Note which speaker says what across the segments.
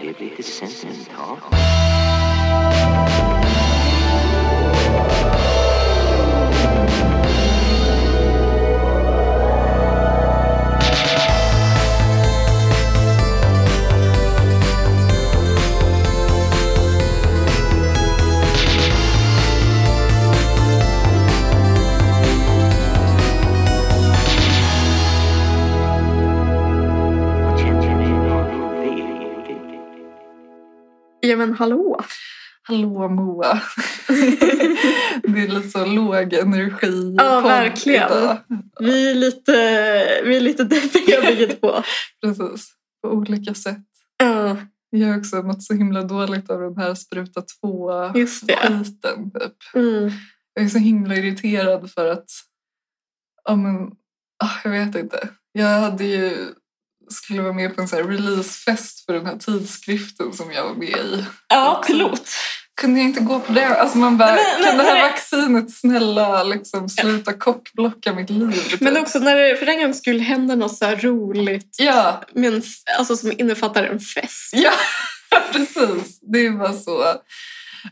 Speaker 1: lite sentimental. Och känner ni någon velig?
Speaker 2: Ja men hallå!
Speaker 3: Hallå Moa. det är lite så låg energi.
Speaker 2: Ja,
Speaker 3: podd
Speaker 2: verkligen.
Speaker 3: idag.
Speaker 2: Vi är lite, vi är lite deppiga bägge två.
Speaker 3: Precis, på olika sätt.
Speaker 2: Ja,
Speaker 3: Jag har också mått så himla dåligt av den här spruta två
Speaker 2: just det.
Speaker 3: skiten typ.
Speaker 2: Mm.
Speaker 3: Jag är så himla irriterad för att, ja men, ah, jag vet inte. Jag hade ju, skulle vara med på en så här releasefest för den här tidskriften som jag var med i.
Speaker 2: Ja, pilot.
Speaker 3: Kunde jag inte gå på det? Alltså man bara,
Speaker 2: Nej, men-
Speaker 3: kan det
Speaker 2: nej,
Speaker 3: här
Speaker 2: nej.
Speaker 3: vaccinet snälla liksom sluta kockblocka mitt liv? typ?
Speaker 2: Men också när det för en gång skulle hända något så här roligt
Speaker 3: Ja,
Speaker 2: men f- alltså som innefattar en fest.
Speaker 3: Ja, precis. Det var så.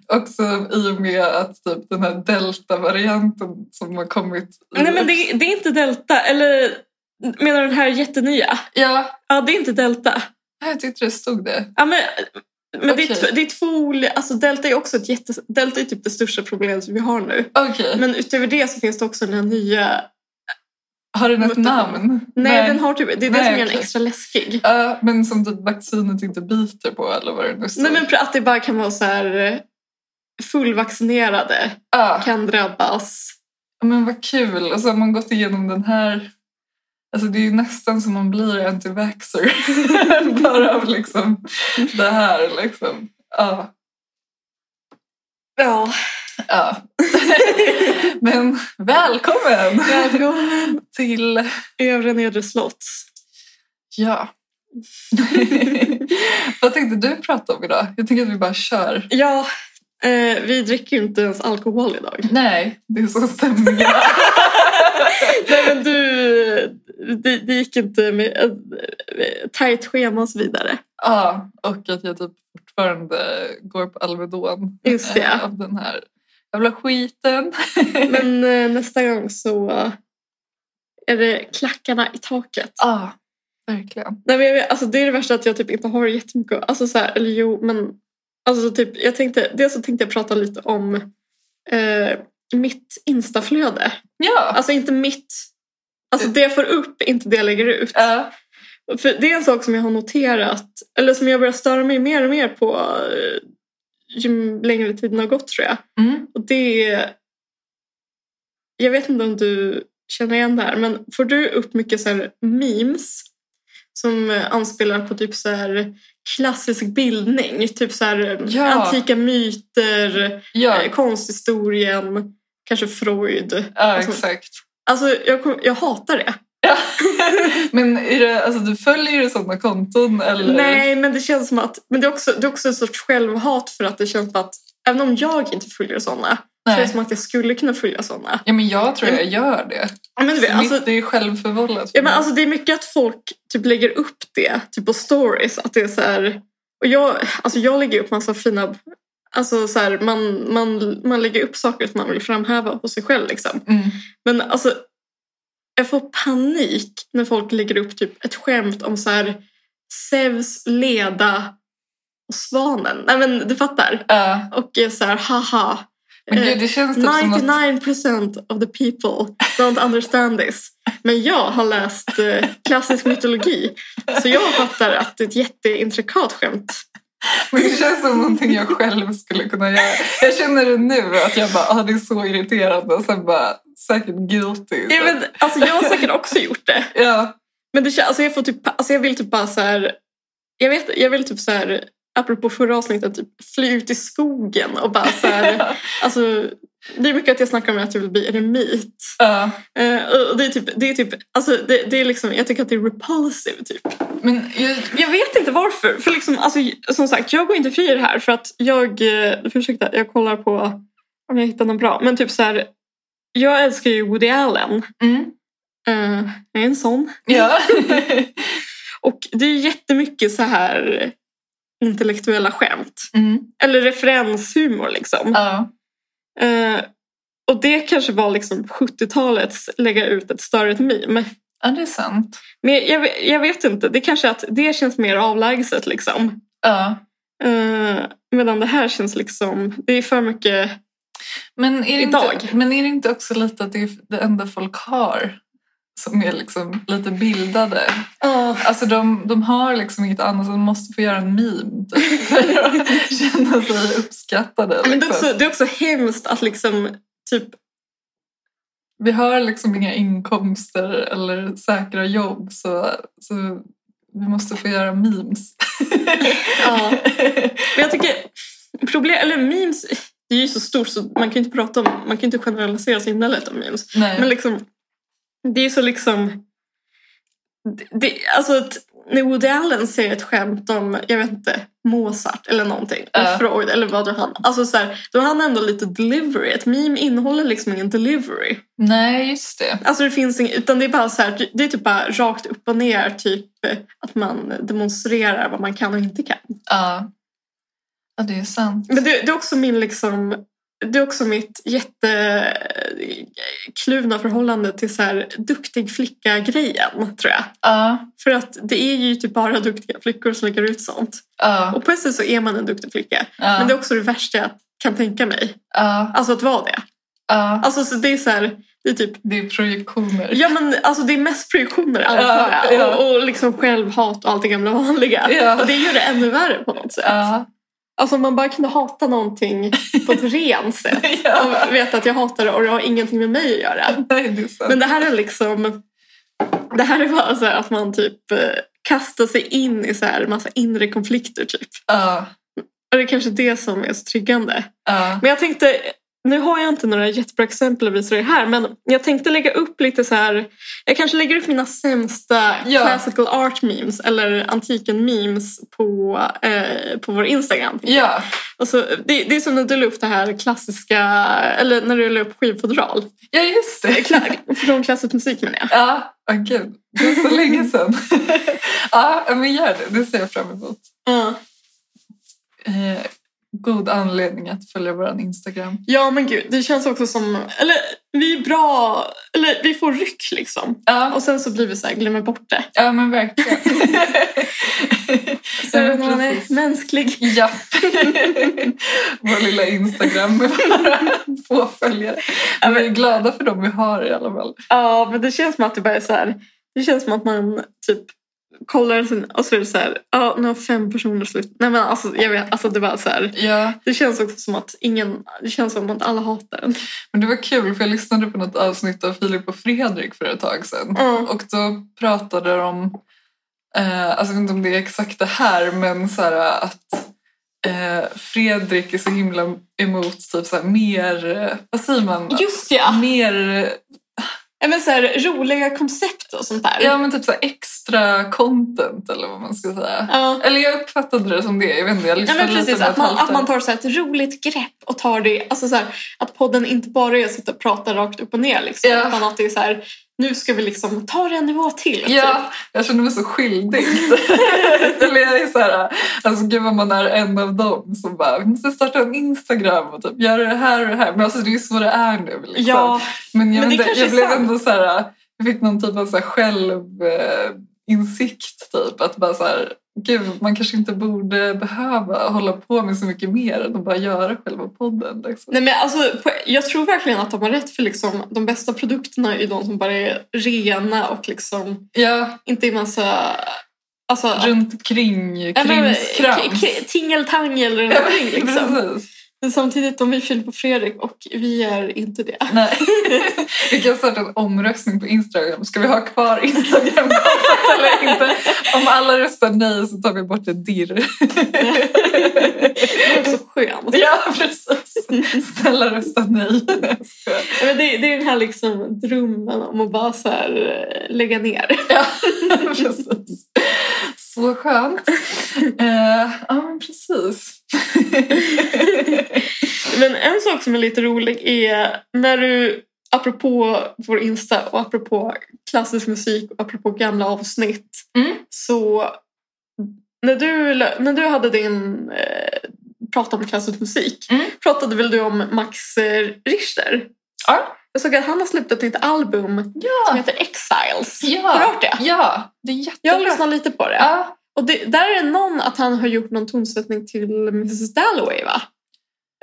Speaker 3: Också i och med att typ den här delta-varianten som har kommit. i-
Speaker 2: Nej men det, det är inte delta, eller menar du den här jättenya?
Speaker 3: Ja,
Speaker 2: Ja, det är inte delta.
Speaker 3: jag tyckte det stod det.
Speaker 2: Ja, men men det, är,
Speaker 3: Okej.
Speaker 2: tv- det är två olika, alltså delta är också ett jätte, delta är typ det största problemet som vi har nu.
Speaker 3: Okej,
Speaker 2: Men utöver det så finns det också den här nya
Speaker 3: har den ett
Speaker 2: Mutant.
Speaker 3: namn?
Speaker 2: Nej, den har typ, det är det
Speaker 3: Nej,
Speaker 2: som gör den
Speaker 3: okej.
Speaker 2: extra läskig.
Speaker 3: Ja, men som typ vaccinet inte biter på eller vad det nu står.
Speaker 2: Nej men att det bara kan vara så här eh, fullvaccinerade
Speaker 3: Ja,
Speaker 2: kan drabbas.
Speaker 3: men vad kul. Och så har man gått igenom den här. Alltså det är ju nästan som man blir anti-vaxxer. Bara av liksom det här liksom. Ja.
Speaker 2: Ja,
Speaker 3: Ja. Men välkommen
Speaker 2: välkommen
Speaker 3: till...
Speaker 2: Övre Nedre slott.
Speaker 3: Ja. Vad tänkte du prata om idag? Jag tänker att vi bara kör.
Speaker 2: Ja, eh, vi dricker ju inte ens alkohol idag.
Speaker 3: Nej, det är så stämningen är.
Speaker 2: Nej men du, det, det gick inte med eh, tajt schema och så vidare.
Speaker 3: Ja, och att jag typ fortfarande går på Alvedon.
Speaker 2: Just det.
Speaker 3: eh, Av den här jävla skiten.
Speaker 2: Men eh, nästa gång så eh, är det klackarna i taket.
Speaker 3: Ja, verkligen.
Speaker 2: Nej, men jag vet, alltså det är det värsta att jag typ inte har jättemycket. Alltså så här, eller jo, men alltså typ, jag tänkte, dels så tänkte jag prata lite om eh, mitt instaflöde.
Speaker 3: Ja.
Speaker 2: Alltså inte mitt, alltså det jag får upp, inte det jag lägger ut.
Speaker 3: Ja.
Speaker 2: För det är en sak som jag har noterat, eller som jag börjar störa mig mer och mer på eh, ju längre tiden har gått tror jag.
Speaker 3: Mm.
Speaker 2: Och det är, jag vet inte om du känner igen det här, men får du upp mycket så här memes som eh, anspelar på typ så här klassisk bildning, typ så här
Speaker 3: Ja.
Speaker 2: antika myter,
Speaker 3: ja.
Speaker 2: eh, konsthistorien, kanske Freud.
Speaker 3: ja, exakt.
Speaker 2: Alltså jag, kom- jag hatar det.
Speaker 3: Ja. Men är det, alltså, du följer ju sådana konton? Eller?
Speaker 2: Nej, men det känns som att, men det är också, det är också en sorts självhat för att det känns som att även om jag inte följer sådana, så är det Mm.
Speaker 3: Nej.
Speaker 2: som att jag skulle kunna följa sådana.
Speaker 3: Ja, men jag tror jag gör det.
Speaker 2: Ja, Men du vet,
Speaker 3: Så
Speaker 2: alltså,
Speaker 3: mitt är ju självförvållat. för
Speaker 2: Ja, men
Speaker 3: mig.
Speaker 2: alltså, det är mycket att folk typ lägger upp det typ på stories. Att det är så här, och jag, alltså, jag lägger upp massa fina... Alltså, så här, man, man, man lägger upp saker som man vill framhäva på sig själv. Liksom.
Speaker 3: mm.
Speaker 2: Men alltså, jag får panik när folk lägger upp typ ett skämt om så här, Zeus, Leda och Svanen. Nej, men du fattar.
Speaker 3: Ja.
Speaker 2: Och är så här, haha.
Speaker 3: men
Speaker 2: eh,
Speaker 3: gud, det känns typ som något...
Speaker 2: 99% of the people don't understand this. Men jag har läst eh, klassisk mytologi så jag fattar att det är ett jätteintrikat skämt.
Speaker 3: Men det känns som någonting jag själv skulle kunna göra. Jag känner det nu, att jag bara, ah, det är så irriterande. Och sen bara, säkert guilty. typ.
Speaker 2: Ja, men, alltså, jag har säkert också gjort det.
Speaker 3: ja.
Speaker 2: Men det, kän- alltså, jag, får typ, alltså, jag vill typ bara så här... Jag, vet, jag vill typ så här... Apropå förra avsnittet, typ, fly ut i skogen och bara så här... Alltså, det är mycket att jag snackar om att jag vill bli eremit.
Speaker 3: Ja.
Speaker 2: Eh, och det är typ, det är typ, alltså, det, det är liksom, jag tycker att det är repulsive typ.
Speaker 3: Men jag,
Speaker 2: Jag vet inte varför. För liksom, alltså, som sagt, jag går inte fri i det här för att jag... eh, Ursäkta, jag kollar på om jag hittar något bra. Men typ så här, jag älskar ju Woody Allen.
Speaker 3: mm.
Speaker 2: Eh, jag är en sån.
Speaker 3: Ja.
Speaker 2: Och det är jättemycket så här... intellektuella skämt.
Speaker 3: Mm.
Speaker 2: Eller referenshumor liksom.
Speaker 3: Ja.
Speaker 2: Eh, och det kanske var liksom 70-talets lägga ut ett större meme.
Speaker 3: ja, det är sant.
Speaker 2: Men jag, ve- jag vet inte, det kanske är att det känns mer avlägset liksom.
Speaker 3: Ja.
Speaker 2: Eh, medan det här känns liksom, det är för mycket,
Speaker 3: Men är, det inte,
Speaker 2: Idag.
Speaker 3: men är det inte också lite att det är det enda folk har som är liksom lite bildade? Alltså de, de har liksom inget annat så de måste få göra en meme typ, för att känna sig uppskattade.
Speaker 2: men det, är
Speaker 3: Liksom.
Speaker 2: också, det är också hemskt att liksom typ,
Speaker 3: Vi har liksom inga inkomster eller säkra jobb så, så vi måste få göra memes.
Speaker 2: ja. Men jag tycker, problem, eller memes, det är ju så stort så man kan ju inte prata om, man kan ju inte generalisera samhället om memes.
Speaker 3: Nej.
Speaker 2: Men liksom, det är så liksom... Det, det, alltså att när Woody Allen säger ett skämt om, jag vet inte, Mozart eller någonting,
Speaker 3: Ja.
Speaker 2: och Freud eller vad det han... Alltså så här, då har han ändå lite delivery. Ett meme innehåller liksom ingen delivery.
Speaker 3: Nej, just det.
Speaker 2: Alltså det finns ing, utan det är bara så här, det är typ bara rakt upp och ner, typ eh, att man demonstrerar vad man kan och inte kan.
Speaker 3: Ja, ja det är sant.
Speaker 2: Men det, det är också min liksom det är också mitt jättekluvna förhållande till så här duktig flicka-grejen, tror jag.
Speaker 3: Ja,
Speaker 2: För att det är ju typ bara duktiga flickor som lägger ut sånt.
Speaker 3: ja,
Speaker 2: Och på ett sätt så är man en duktig flicka. Men det är
Speaker 3: ja,
Speaker 2: också det värsta jag kan tänka mig.
Speaker 3: ja,
Speaker 2: Alltså att vara det.
Speaker 3: ja.
Speaker 2: Alltså så det är så här, det är typ,
Speaker 3: Det är projektioner.
Speaker 2: ja men alltså det är mest projektioner antar
Speaker 3: Ja,
Speaker 2: jag.
Speaker 3: ja.
Speaker 2: Och, och liksom självhat och allt det gamla vanliga.
Speaker 3: Ja.
Speaker 2: Och det gör det ännu värre på något sätt.
Speaker 3: Ja.
Speaker 2: Alltså om man bara kunde hata någonting på ett rent sätt.
Speaker 3: ja.
Speaker 2: Och veta att jag hatar det och det har ingenting med mig att göra.
Speaker 3: Nej, det är sant.
Speaker 2: Men det här är liksom... Det här är bara så här att man typ eh, kastar sig in i så här massa inre konflikter typ.
Speaker 3: Ja,
Speaker 2: Och det är kanske det som är så triggande.
Speaker 3: ja,
Speaker 2: Men jag tänkte, nu har jag inte några jättebra exempel att visa dig här men jag tänkte lägga upp lite så här. Jag kanske lägger upp mina sämsta
Speaker 3: Ja.
Speaker 2: classical art memes eller antiken memes på, eh, på vår Instagram.
Speaker 3: ja,
Speaker 2: Och så, det, det är som när du la upp det här klassiska, eller när du la upp skivfodral.
Speaker 3: ja, just det.
Speaker 2: Kla- Från klassisk musik menar jag.
Speaker 3: Ja, åh gud. Det är så länge sedan. ja, men gör det. Det ser jag fram emot.
Speaker 2: Ja.
Speaker 3: Eh, god anledning att följa vår Instagram.
Speaker 2: Ja men gud, det känns också som, eller vi är bra, eller vi får ryck liksom.
Speaker 3: Ja,
Speaker 2: Och sen så blir vi så här, glömmer bort det.
Speaker 3: ja men verkligen.
Speaker 2: Så
Speaker 3: Ja, men
Speaker 2: man
Speaker 3: precis.
Speaker 2: är mänsklig.
Speaker 3: Ja. Vår lilla Instagram med våra få följare. Men vi är glada för dem vi har i alla fall.
Speaker 2: Ja men det känns som att det bara är så här, det känns som att man typ kollar sin, och så är det så här, ja nu har fem personer slut. Nej men alltså jag vet, alltså det bara så här.
Speaker 3: Ja,
Speaker 2: Det känns också som att ingen, det känns som att alla hatar en.
Speaker 3: men det var kul för jag lyssnade på något avsnitt av Filip och Fredrik för ett tag sedan.
Speaker 2: Mm.
Speaker 3: Och då pratade de, eh, alltså jag vet inte om det är exakt det här, men så här att eh, Fredrik är så himla emot typ så här mer, eh, vad säger man?
Speaker 2: Just ja!
Speaker 3: Mer, eh,
Speaker 2: Men så här, roliga koncept och sånt där.
Speaker 3: ja men typ så här extra content eller vad man ska säga.
Speaker 2: Ja.
Speaker 3: Eller jag uppfattade det som det, jag vet inte, jag
Speaker 2: Ja,
Speaker 3: lyssnade
Speaker 2: men precis,
Speaker 3: lite
Speaker 2: att man, att man
Speaker 3: tar...
Speaker 2: tar så här ett roligt grepp och tar det, alltså så här, att podden inte bara är att sitta och prata rakt upp och ner liksom,
Speaker 3: Ja.
Speaker 2: utan att det är så här, nu ska vi liksom ta det en nivå till. typ.
Speaker 3: Ja, jag känner mig så skyldig. Eller jag är så här, alltså gud vad man är en av dem som bara, vi måste starta en Instagram och typ göra det här och det här. Men alltså det är ju så det är nu liksom.
Speaker 2: ja.
Speaker 3: Men jag,
Speaker 2: Men
Speaker 3: vet
Speaker 2: det
Speaker 3: inte,
Speaker 2: kanske
Speaker 3: jag
Speaker 2: är
Speaker 3: blev
Speaker 2: sant.
Speaker 3: ändå så här, jag fick någon typ av så här själv, eh, insikt typ. Att bara så här, gud man kanske inte borde behöva hålla på med så mycket mer än att bara göra själva podden. Liksom.
Speaker 2: Nej, men alltså, på- jag tror verkligen att de har rätt för liksom, de bästa produkterna är de som bara är rena och liksom
Speaker 3: Ja,
Speaker 2: inte är massa... Alltså,
Speaker 3: runt kring,
Speaker 2: ja, men, eh,
Speaker 3: krimskrams.
Speaker 2: k- k- Tingeltangel runt
Speaker 3: Ja,
Speaker 2: omkring liksom.
Speaker 3: Precis.
Speaker 2: Men samtidigt, de är Filip och Fredrik och vi är inte det.
Speaker 3: Nej. Vi kan starta en omröstning på Instagram. Ska vi ha kvar Instagram-kontot eller inte? Om alla röstar nej så tar vi bort ett dirr.
Speaker 2: Det är också skönt.
Speaker 3: Ja, precis. Snälla rösta nej.
Speaker 2: Ja, Men det, det är den här liksom drömmen om att bara så här, eh, lägga ner.
Speaker 3: Ja, precis. Så skönt. Eh, ja, men precis.
Speaker 2: Men en sak som är lite rolig är när du, apropå vår Insta och apropå klassisk musik och apropå gamla avsnitt,
Speaker 3: Mm.
Speaker 2: så När du, lö- när du hade din eh, prat om klassisk musik
Speaker 3: Mm.
Speaker 2: pratade väl du om Max eh, Richter?
Speaker 3: Ja.
Speaker 2: Jag såg att han har släppt ett nytt album som
Speaker 3: Ja,
Speaker 2: heter Exiles.
Speaker 3: Ja.
Speaker 2: Har du hört det?
Speaker 3: ja det är jättebra.
Speaker 2: Jag lyssnar lite på det.
Speaker 3: Ja,
Speaker 2: Och det, där är det någon att han har gjort någon tonsättning till Mrs Dalloway va?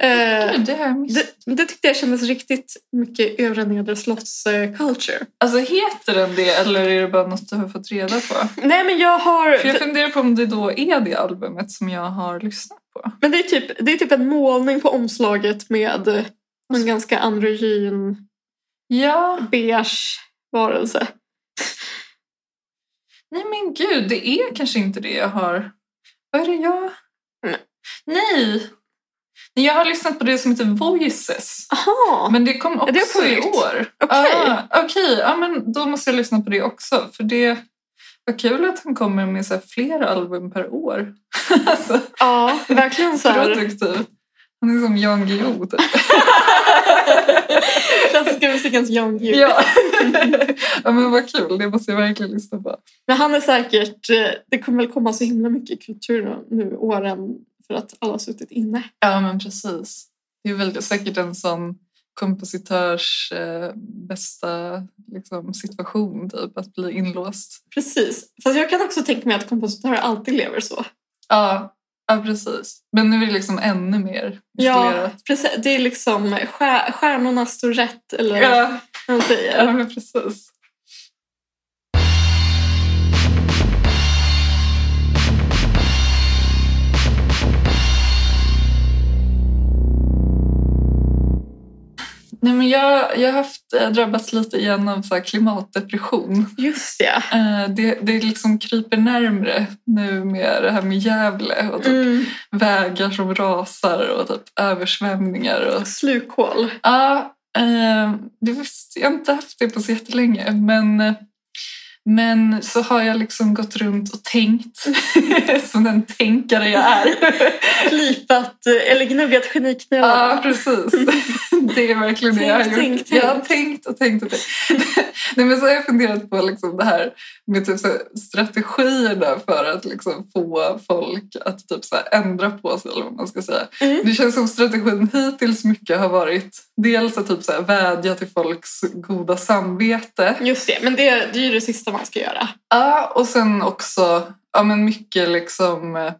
Speaker 2: Eh,
Speaker 3: gud, det har jag missat.
Speaker 2: det, det tyckte jag kändes riktigt mycket övre nedre slotts eh, culture.
Speaker 3: Alltså heter den det eller är det bara något du har fått reda på?
Speaker 2: Nej men jag har...
Speaker 3: För jag funderar på om det då är det albumet som jag har lyssnat på.
Speaker 2: Men det är, typ, det är typ en målning på omslaget med eh, en ganska androgyn
Speaker 3: Ja,
Speaker 2: beige varelse.
Speaker 3: nej men gud, det är kanske inte det jag har. Vad är det jag...
Speaker 2: Nej.
Speaker 3: Nej! Nej, Jag har lyssnat på det som heter Voices.
Speaker 2: Aha.
Speaker 3: Men det kom
Speaker 2: Är det
Speaker 3: också i
Speaker 2: sjukt?
Speaker 3: år.
Speaker 2: Okej.
Speaker 3: Ah, Okej, ja, men då måste jag lyssna på det också. För det var kul att han kommer med så här flera album per år. alltså,
Speaker 2: Ja, verkligen så här.
Speaker 3: produktiv. Han är som Jan Guillou typ.
Speaker 2: Klassiska musikens Jan Guillou.
Speaker 3: Ja. ja, men vad kul. Det måste jag verkligen lyssna på.
Speaker 2: Men han är säkert... eh, Det kommer väl komma så himla mycket kultur nu åren för att alla har suttit inne.
Speaker 3: Ja, men precis. Det är väl säkert en sån kompositörs eh, bästa liksom, situation, typ, att bli inlåst.
Speaker 2: Precis. Fast jag kan också tänka mig att kompositörer alltid lever så.
Speaker 3: Ja, ja precis. Men nu är det liksom ännu mer
Speaker 2: Ja,
Speaker 3: isolerat.
Speaker 2: precis. Det är liksom stjär- stjärnorna står rätt eller
Speaker 3: Ja,
Speaker 2: vad man
Speaker 3: ja,
Speaker 2: säger.
Speaker 3: men precis. Nej, men jag, jag har haft, eh, drabbats lite igen av så här klimatdepression.
Speaker 2: Just det.
Speaker 3: Eh, det, det liksom kryper närmre nu med det här med Gävle och typ
Speaker 2: Mm.
Speaker 3: vägar som rasar och typ översvämningar. Och...
Speaker 2: Slukhål.
Speaker 3: Ja, eh, det visste jag inte haft det på så jättelänge. Men, men så har jag liksom gått runt och tänkt som den tänkare jag är.
Speaker 2: Slipat eh, eller gnuggat geniknölarna.
Speaker 3: Ja, precis. Det är verkligen det
Speaker 2: Tänk,
Speaker 3: jag har
Speaker 2: tänk,
Speaker 3: gjort.
Speaker 2: tänk.
Speaker 3: Jag har tänkt och tänkt och tänkt. Nej, men så har jag funderat på liksom det här med typ så här strategierna för att liksom få folk att typ så här ändra på sig. Eller vad man ska säga.
Speaker 2: Mm.
Speaker 3: Det känns som strategin hittills mycket har varit dels att typ så här vädja till folks goda samvete.
Speaker 2: Just det, men det, det är ju det sista man ska göra.
Speaker 3: Ja, och sen också ja, men mycket liksom eh,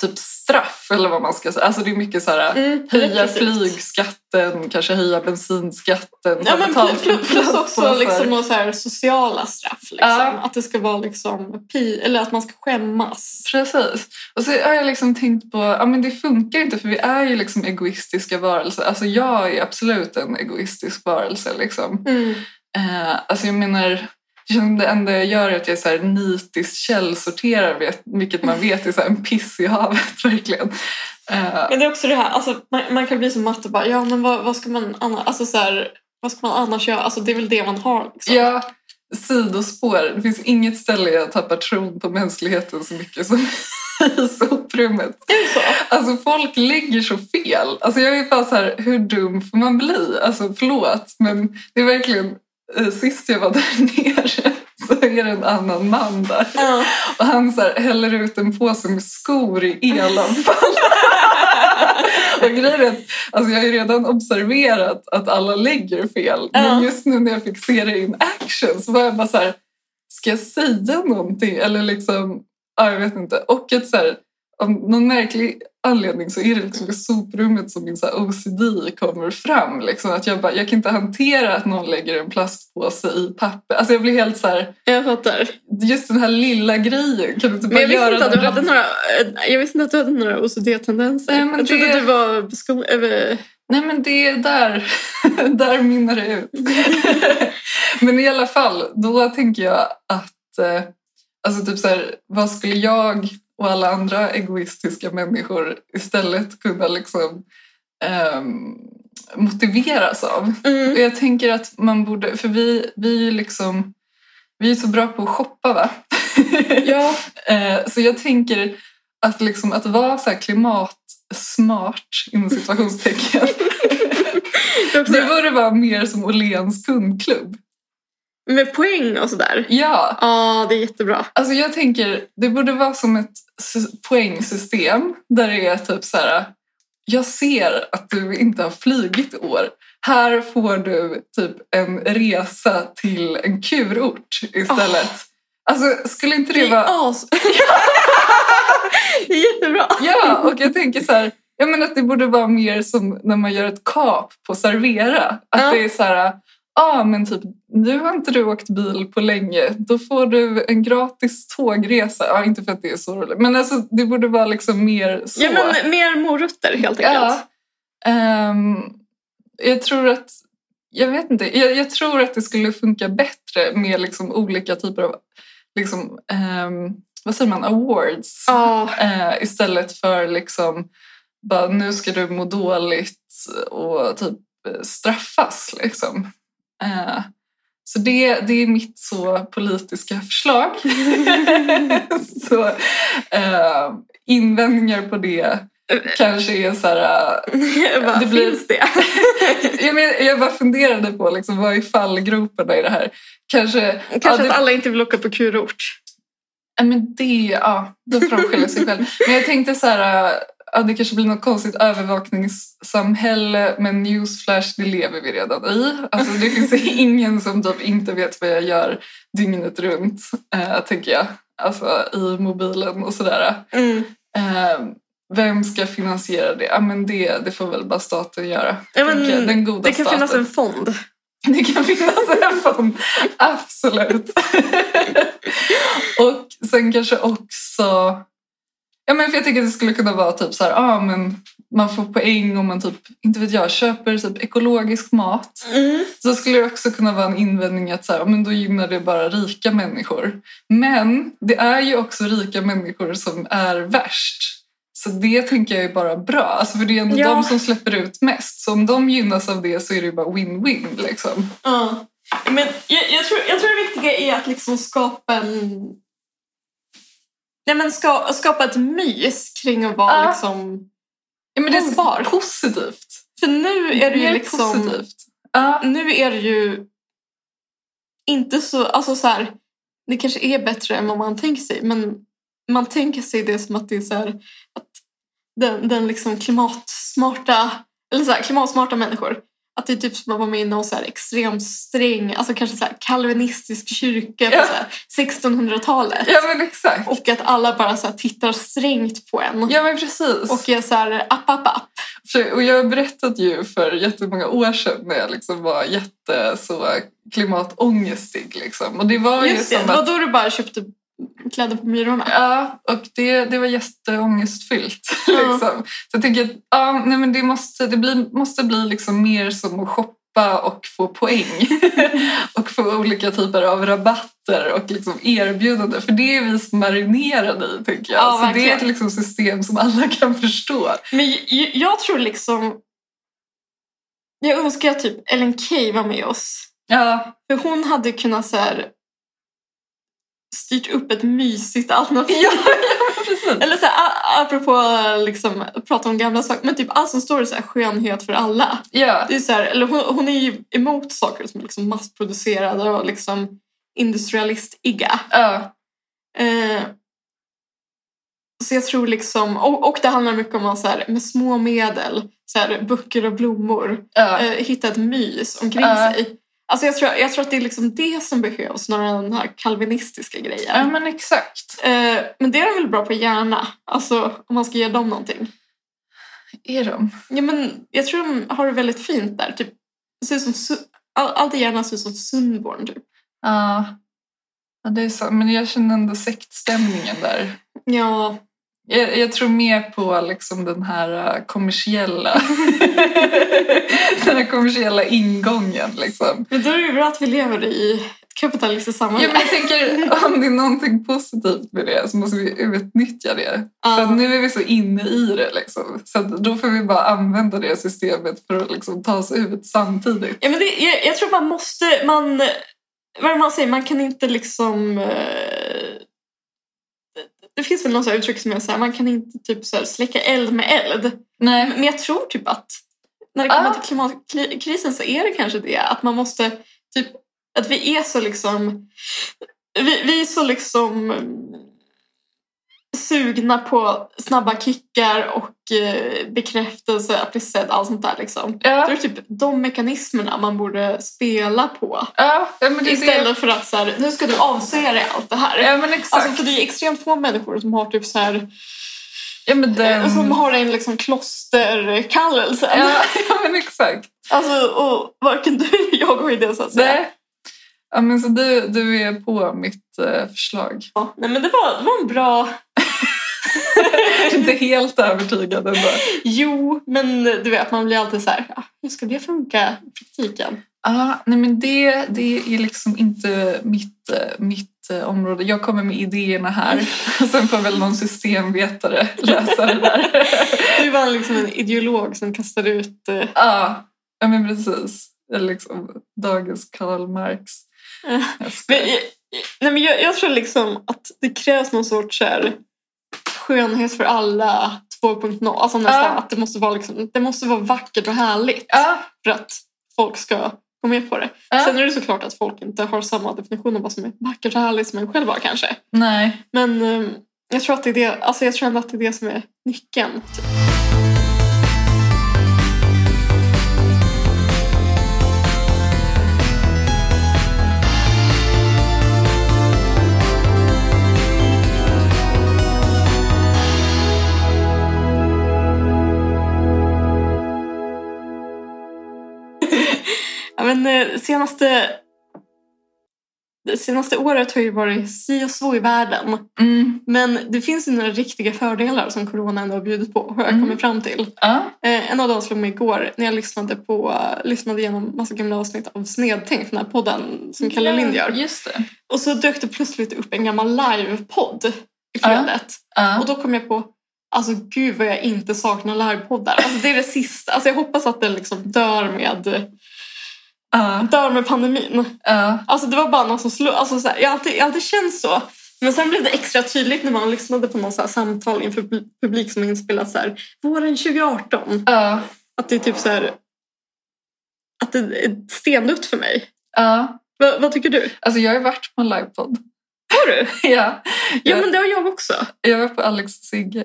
Speaker 3: typ straff eller vad man ska säga. Alltså det är mycket så här
Speaker 2: Mm,
Speaker 3: Höja
Speaker 2: repressivt.
Speaker 3: flygskatten, kanske höja bensinskatten.
Speaker 2: Ja,
Speaker 3: ta
Speaker 2: men plus,
Speaker 3: betalt för
Speaker 2: plus, plus också
Speaker 3: plastpåsar.
Speaker 2: liksom några så här sociala straff. Liksom.
Speaker 3: Ja.
Speaker 2: Att det ska vara liksom pi, eller att man ska skämmas.
Speaker 3: Precis. Och så har jag liksom tänkt på ja, men det funkar inte för vi är ju liksom egoistiska varelser. Alltså jag är absolut en egoistisk varelse. Liksom.
Speaker 2: Mm.
Speaker 3: Eh, alltså jag menar, jag känner det enda jag gör är att jag så här nitiskt källsorterar vet- vilket man vet är så här en piss i havet verkligen. Eh,
Speaker 2: Men det är också det här, alltså, man, man kan bli så matt och bara, ja men vad, vad ska man annars, alltså så här, vad ska man annars göra? Alltså det är väl det man har liksom.
Speaker 3: Ja, sidospår. Det finns inget ställe jag tappar tron på mänskligheten så mycket som i soprummet.
Speaker 2: Det är ju så.
Speaker 3: Alltså folk lägger så fel. Alltså jag är bara så här, hur dum får man bli? Alltså förlåt, men det är verkligen eh, sist jag var där nere så är det en annan man där.
Speaker 2: Ja.
Speaker 3: Och han så här, häller ut en påse med skor i elavfall. och grejen är att alltså jag har ju redan observerat att alla lägger fel. Men
Speaker 2: Ja.
Speaker 3: just nu när jag fick se det in action så var jag bara så här, ska jag säga någonting? Eller liksom, ja, jag vet inte. Och att så här, av någon märklig anledning så är det liksom i soprummet som min så här OCD kommer fram. Liksom. Att jag, bara, jag kan inte hantera att någon lägger en plastpåse i papper. Alltså jag blir helt så här,
Speaker 2: Jag fattar.
Speaker 3: just den här lilla grejen. Kan du inte bara
Speaker 2: Men jag visste
Speaker 3: göra
Speaker 2: inte att
Speaker 3: den
Speaker 2: du hade
Speaker 3: rätt?
Speaker 2: några, eh, jag visste inte att du hade några OCD-tendenser.
Speaker 3: Nej, men
Speaker 2: jag trodde
Speaker 3: det-
Speaker 2: du var besko- över...
Speaker 3: Nej men det är där, där mynnar det ut. men i alla fall, då tänker jag att eh, alltså typ så här, vad skulle jag och alla andra egoistiska människor istället kunna liksom ehm, motiveras av?
Speaker 2: Mm.
Speaker 3: Och jag tänker att man borde, för vi, vi är ju liksom, vi är så bra på att shoppa va?
Speaker 2: Ja,
Speaker 3: Eh, Så jag tänker att, liksom, att vara så här klimatsmart, inom situationstecken,
Speaker 2: det är också...
Speaker 3: det borde vara mer som Åhléns kundklubb.
Speaker 2: Med poäng och sådär.
Speaker 3: Ja,
Speaker 2: Ja, det är jättebra.
Speaker 3: alltså jag tänker det borde vara som ett sy- poängsystem där det är typ så här. Jag ser att du inte har flygit i år. Här får du typ en resa till en kurort istället. Alltså skulle inte det
Speaker 2: Det
Speaker 3: vara...
Speaker 2: är as... det är jättebra.
Speaker 3: Ja, och jag tänker så här, jag menar att det borde vara mer som när man gör ett kap på servera. Att
Speaker 2: Ja.
Speaker 3: det är så här, ja ah, men typ nu har inte du åkt bil på länge, då får du en gratis tågresa. Ja, inte för att det är så roligt, men alltså det borde vara liksom mer så.
Speaker 2: Ja, men mer morötter helt enkelt.
Speaker 3: Ja. Ehm, jag tror att jag vet inte. Jag, jag tror att det skulle funka bättre med liksom olika typer av liksom, ehm, vad säger man, awards.
Speaker 2: Ja,
Speaker 3: Eh, istället för liksom bara nu ska du må dåligt och typ eh, straffas liksom. Eh, så det, det är mitt så politiska förslag. så eh, invändningar på det kanske är så här... eh,
Speaker 2: Jag bara,
Speaker 3: Det blir-
Speaker 2: finns det?
Speaker 3: jag, men, jag bara funderade på liksom, vad är fallgroparna i det här? Kanske, ja,
Speaker 2: Kanske
Speaker 3: det-
Speaker 2: att alla inte vill åka på kurort.
Speaker 3: Ja, men det, ja, då får de skylla sig själv. Men jag tänkte så här, ja, det kanske blir något konstigt övervakningssamhälle, men newsflash, det lever vi redan i. Alltså det finns ingen som typ inte vet vad jag gör dygnet runt, eh, tänker jag. Alltså i mobilen och sådär.
Speaker 2: Mm.
Speaker 3: Eh, vem ska finansiera det? Ja, men det? Det får väl bara staten göra.
Speaker 2: Ja, men
Speaker 3: tänker jag. Den goda
Speaker 2: Det kan
Speaker 3: staten.
Speaker 2: finnas en fond.
Speaker 3: Det kan finnas en fond, absolut. och sen kanske också... Ja, men för jag tycker att det skulle kunna vara typ så här, ah, men man får poäng om man typ, inte vet jag, köper typ ekologisk mat.
Speaker 2: Mm.
Speaker 3: Så skulle det också kunna vara en invändning att så här, ah, men då gynnar det bara rika människor. Men det är ju också rika människor som är värst. Så det tänker jag är bara bra, alltså för det är ändå
Speaker 2: Ja.
Speaker 3: de som släpper ut mest. Så om de gynnas av det så är det ju bara win-win. Liksom.
Speaker 2: Ja. Men jag, jag, tror, jag tror det viktiga är att liksom skapa en... Nej, men ska, skapa ett mys kring att vara
Speaker 3: Ja.
Speaker 2: liksom...
Speaker 3: Ja, men det är
Speaker 2: Hållbar.
Speaker 3: positivt.
Speaker 2: För nu är det ju liksom...
Speaker 3: positivt. Ja,
Speaker 2: Nu är det ju inte så... Alltså så här, det kanske är bättre än vad man tänker sig men man tänker sig det som att det är så här, att den, den liksom klimatsmarta eller så här, klimatsmarta människor att det är typ som att vara med i någon så här extremt sträng, alltså kanske så här kalvinistisk kyrka på
Speaker 3: Ja.
Speaker 2: så här 1600-talet.
Speaker 3: ja men exakt.
Speaker 2: Och att alla bara så här tittar strängt på en.
Speaker 3: Ja men precis.
Speaker 2: Och är så här app, app, app.
Speaker 3: För- Och jag har berättat ju för jättemånga år sedan när jag liksom var jätte så klimatångestig. Liksom. Och det var
Speaker 2: Just
Speaker 3: ju
Speaker 2: det,
Speaker 3: som
Speaker 2: det var
Speaker 3: att...
Speaker 2: då du bara köpte kläder på Myrorna.
Speaker 3: Ja, och det, det var jätteångestfyllt.
Speaker 2: Ja.
Speaker 3: Liksom. Så jag tänker att ja, nej, men det måste, det blir, måste bli liksom mer som att shoppa och få poäng. och få olika typer av rabatter och liksom erbjudanden. För det är vi som marinerade i, tänker jag.
Speaker 2: Ja,
Speaker 3: Så det är
Speaker 2: verkligen.
Speaker 3: ett liksom system som alla kan förstå.
Speaker 2: Men j- j- jag tror liksom... Jag önskar att typ Ellen Key var med oss.
Speaker 3: Ja,
Speaker 2: För hon hade kunnat så här, styrt upp ett mysigt alternativ.
Speaker 3: ja, ja precis.
Speaker 2: Eller så här, a- apropå liksom, att prata om gamla saker. Men typ allt som står är så här, skönhet för alla.
Speaker 3: Ja,
Speaker 2: Det är så här, eller hon, hon är ju emot saker som är liksom massproducerade och liksom industrialistiga.
Speaker 3: ja,
Speaker 2: Eh, så jag tror liksom, och, och det handlar mycket om att så här, med små medel, så här, böcker och blommor,
Speaker 3: ja.
Speaker 2: eh, hitta ett mys omkring
Speaker 3: Ja.
Speaker 2: sig. Alltså jag, tror, jag tror att det är liksom det som behövs snarare än den här kalvinistiska grejen.
Speaker 3: ja men exakt.
Speaker 2: Eh, men det är de väl bra på gärna, alltså om man ska ge dem någonting.
Speaker 3: Är de?
Speaker 2: Ja, men jag tror de har det väldigt fint där. Typ, det ser ut som, Su- all, allt i hjärnan ser ut som Sundborn typ.
Speaker 3: Ja. ja, det är så. Men jag känner ändå sektstämningen där.
Speaker 2: Ja,
Speaker 3: Jag, jag tror mer på liksom den här eh, kommersiella den här kommersiella ingången. Liksom.
Speaker 2: men då är det ju bra att vi lever i ett kapitalistiskt samhälle.
Speaker 3: Ja, men jag tänker om det är någonting positivt med det så måste vi utnyttja det.
Speaker 2: Ja.
Speaker 3: För att nu är vi så inne i det. Liksom. Så att då får vi bara använda det systemet för att liksom, ta oss ut samtidigt.
Speaker 2: Ja, men det, jag, jag tror man måste... Man, vad är det man säger? Man kan inte liksom... eh, det- det finns väl något uttryck som jag säger, man kan inte typ så här släcka eld med eld.
Speaker 3: Nej.
Speaker 2: Men jag tror typ att när det kommer
Speaker 3: Ah.
Speaker 2: till klimatkrisen så är det kanske det. Att man måste typ Att vi är så liksom... Vi, vi är så liksom mm, sugna på snabba kickar och eh, bekräftelse, att bli sedd, allt sånt där. Liksom. Jag
Speaker 3: Ja,
Speaker 2: tror typ de mekanismerna man borde spela på.
Speaker 3: ja, ja men det är det.
Speaker 2: Istället för att så här, nu ska du avsäga dig allt det här.
Speaker 3: Ja, men exakt.
Speaker 2: Alltså, för det är extremt få människor som har typ så här,
Speaker 3: ja, men den...
Speaker 2: som har en liksom klosterkallelse.
Speaker 3: Ehm. ja, ja, men exakt.
Speaker 2: Alltså, och varken du eller jag går i det så att säga.
Speaker 3: Nej. Ja, men så du, du är på mitt eh, förslag.
Speaker 2: Ja, nej men det var, det var en bra...
Speaker 3: Inte helt övertygad ändå.
Speaker 2: Jo, men du vet man blir alltid så här, "Ah, hur ska det funka i praktiken?
Speaker 3: Ah, nej, men det, det är liksom inte mitt, eh, mitt eh, område. Jag kommer med idéerna här. Sen får väl någon systemvetare lösa det där.
Speaker 2: Du var liksom en ideolog som kastade ut... eh,
Speaker 3: ah, ja, men precis. Eller liksom dagens Karl Marx.
Speaker 2: eh.
Speaker 3: Jag ska-
Speaker 2: Men, eh, nej, men jag, jag tror liksom att det krävs någon sorts så här, skönhet för alla 2.0. Alltså nästan
Speaker 3: Ja.
Speaker 2: att det måste, vara liksom, det måste vara vackert och härligt
Speaker 3: Ja,
Speaker 2: för att folk ska gå med på det.
Speaker 3: ja.
Speaker 2: Sen är det såklart att folk inte har samma definition av vad som är vackert och härligt som en själv har kanske.
Speaker 3: Nej.
Speaker 2: Men eh, jag tror, att det är det, alltså jag tror ändå att det är det som är nyckeln. Typ. Ja, men, eh, senaste, det senaste året har ju varit si och så i världen.
Speaker 3: Mm.
Speaker 2: Men det finns ju några riktiga fördelar som corona ändå har bjudit på, har jag
Speaker 3: Mm.
Speaker 2: kommit fram till.
Speaker 3: Ja.
Speaker 2: Eh, en av dem slog mig igår när jag lyssnade, på, lyssnade igenom massa gamla avsnitt av Snedtänkt, den här podden som Kalle
Speaker 3: Ja,
Speaker 2: Lind gör.
Speaker 3: Just det.
Speaker 2: Och så dök det plötsligt upp en gammal livepodd i flödet. Och
Speaker 3: Ja.
Speaker 2: då kom jag på, alltså gud vad jag inte saknar livepoddar. Alltså det är det sista. Alltså jag hoppas att den liksom dör med,
Speaker 3: Ja.
Speaker 2: dör med pandemin.
Speaker 3: Ja.
Speaker 2: Alltså det var bara någon som slog... Alltså så här, jag har alltid, jag har alltid känt så. Men sen blev det extra tydligt när man lyssnade på någon så här samtal inför pub- publik som inspelat så här, våren 2018.
Speaker 3: Ja.
Speaker 2: Att det är typ så här... Att det är stendött för mig.
Speaker 3: Ja.
Speaker 2: Va, vad tycker du?
Speaker 3: Alltså jag har ju varit på en livepodd.
Speaker 2: Har du?
Speaker 3: ja.
Speaker 2: Ja, men det har jag också.
Speaker 3: Jag var på Alex och Sigge.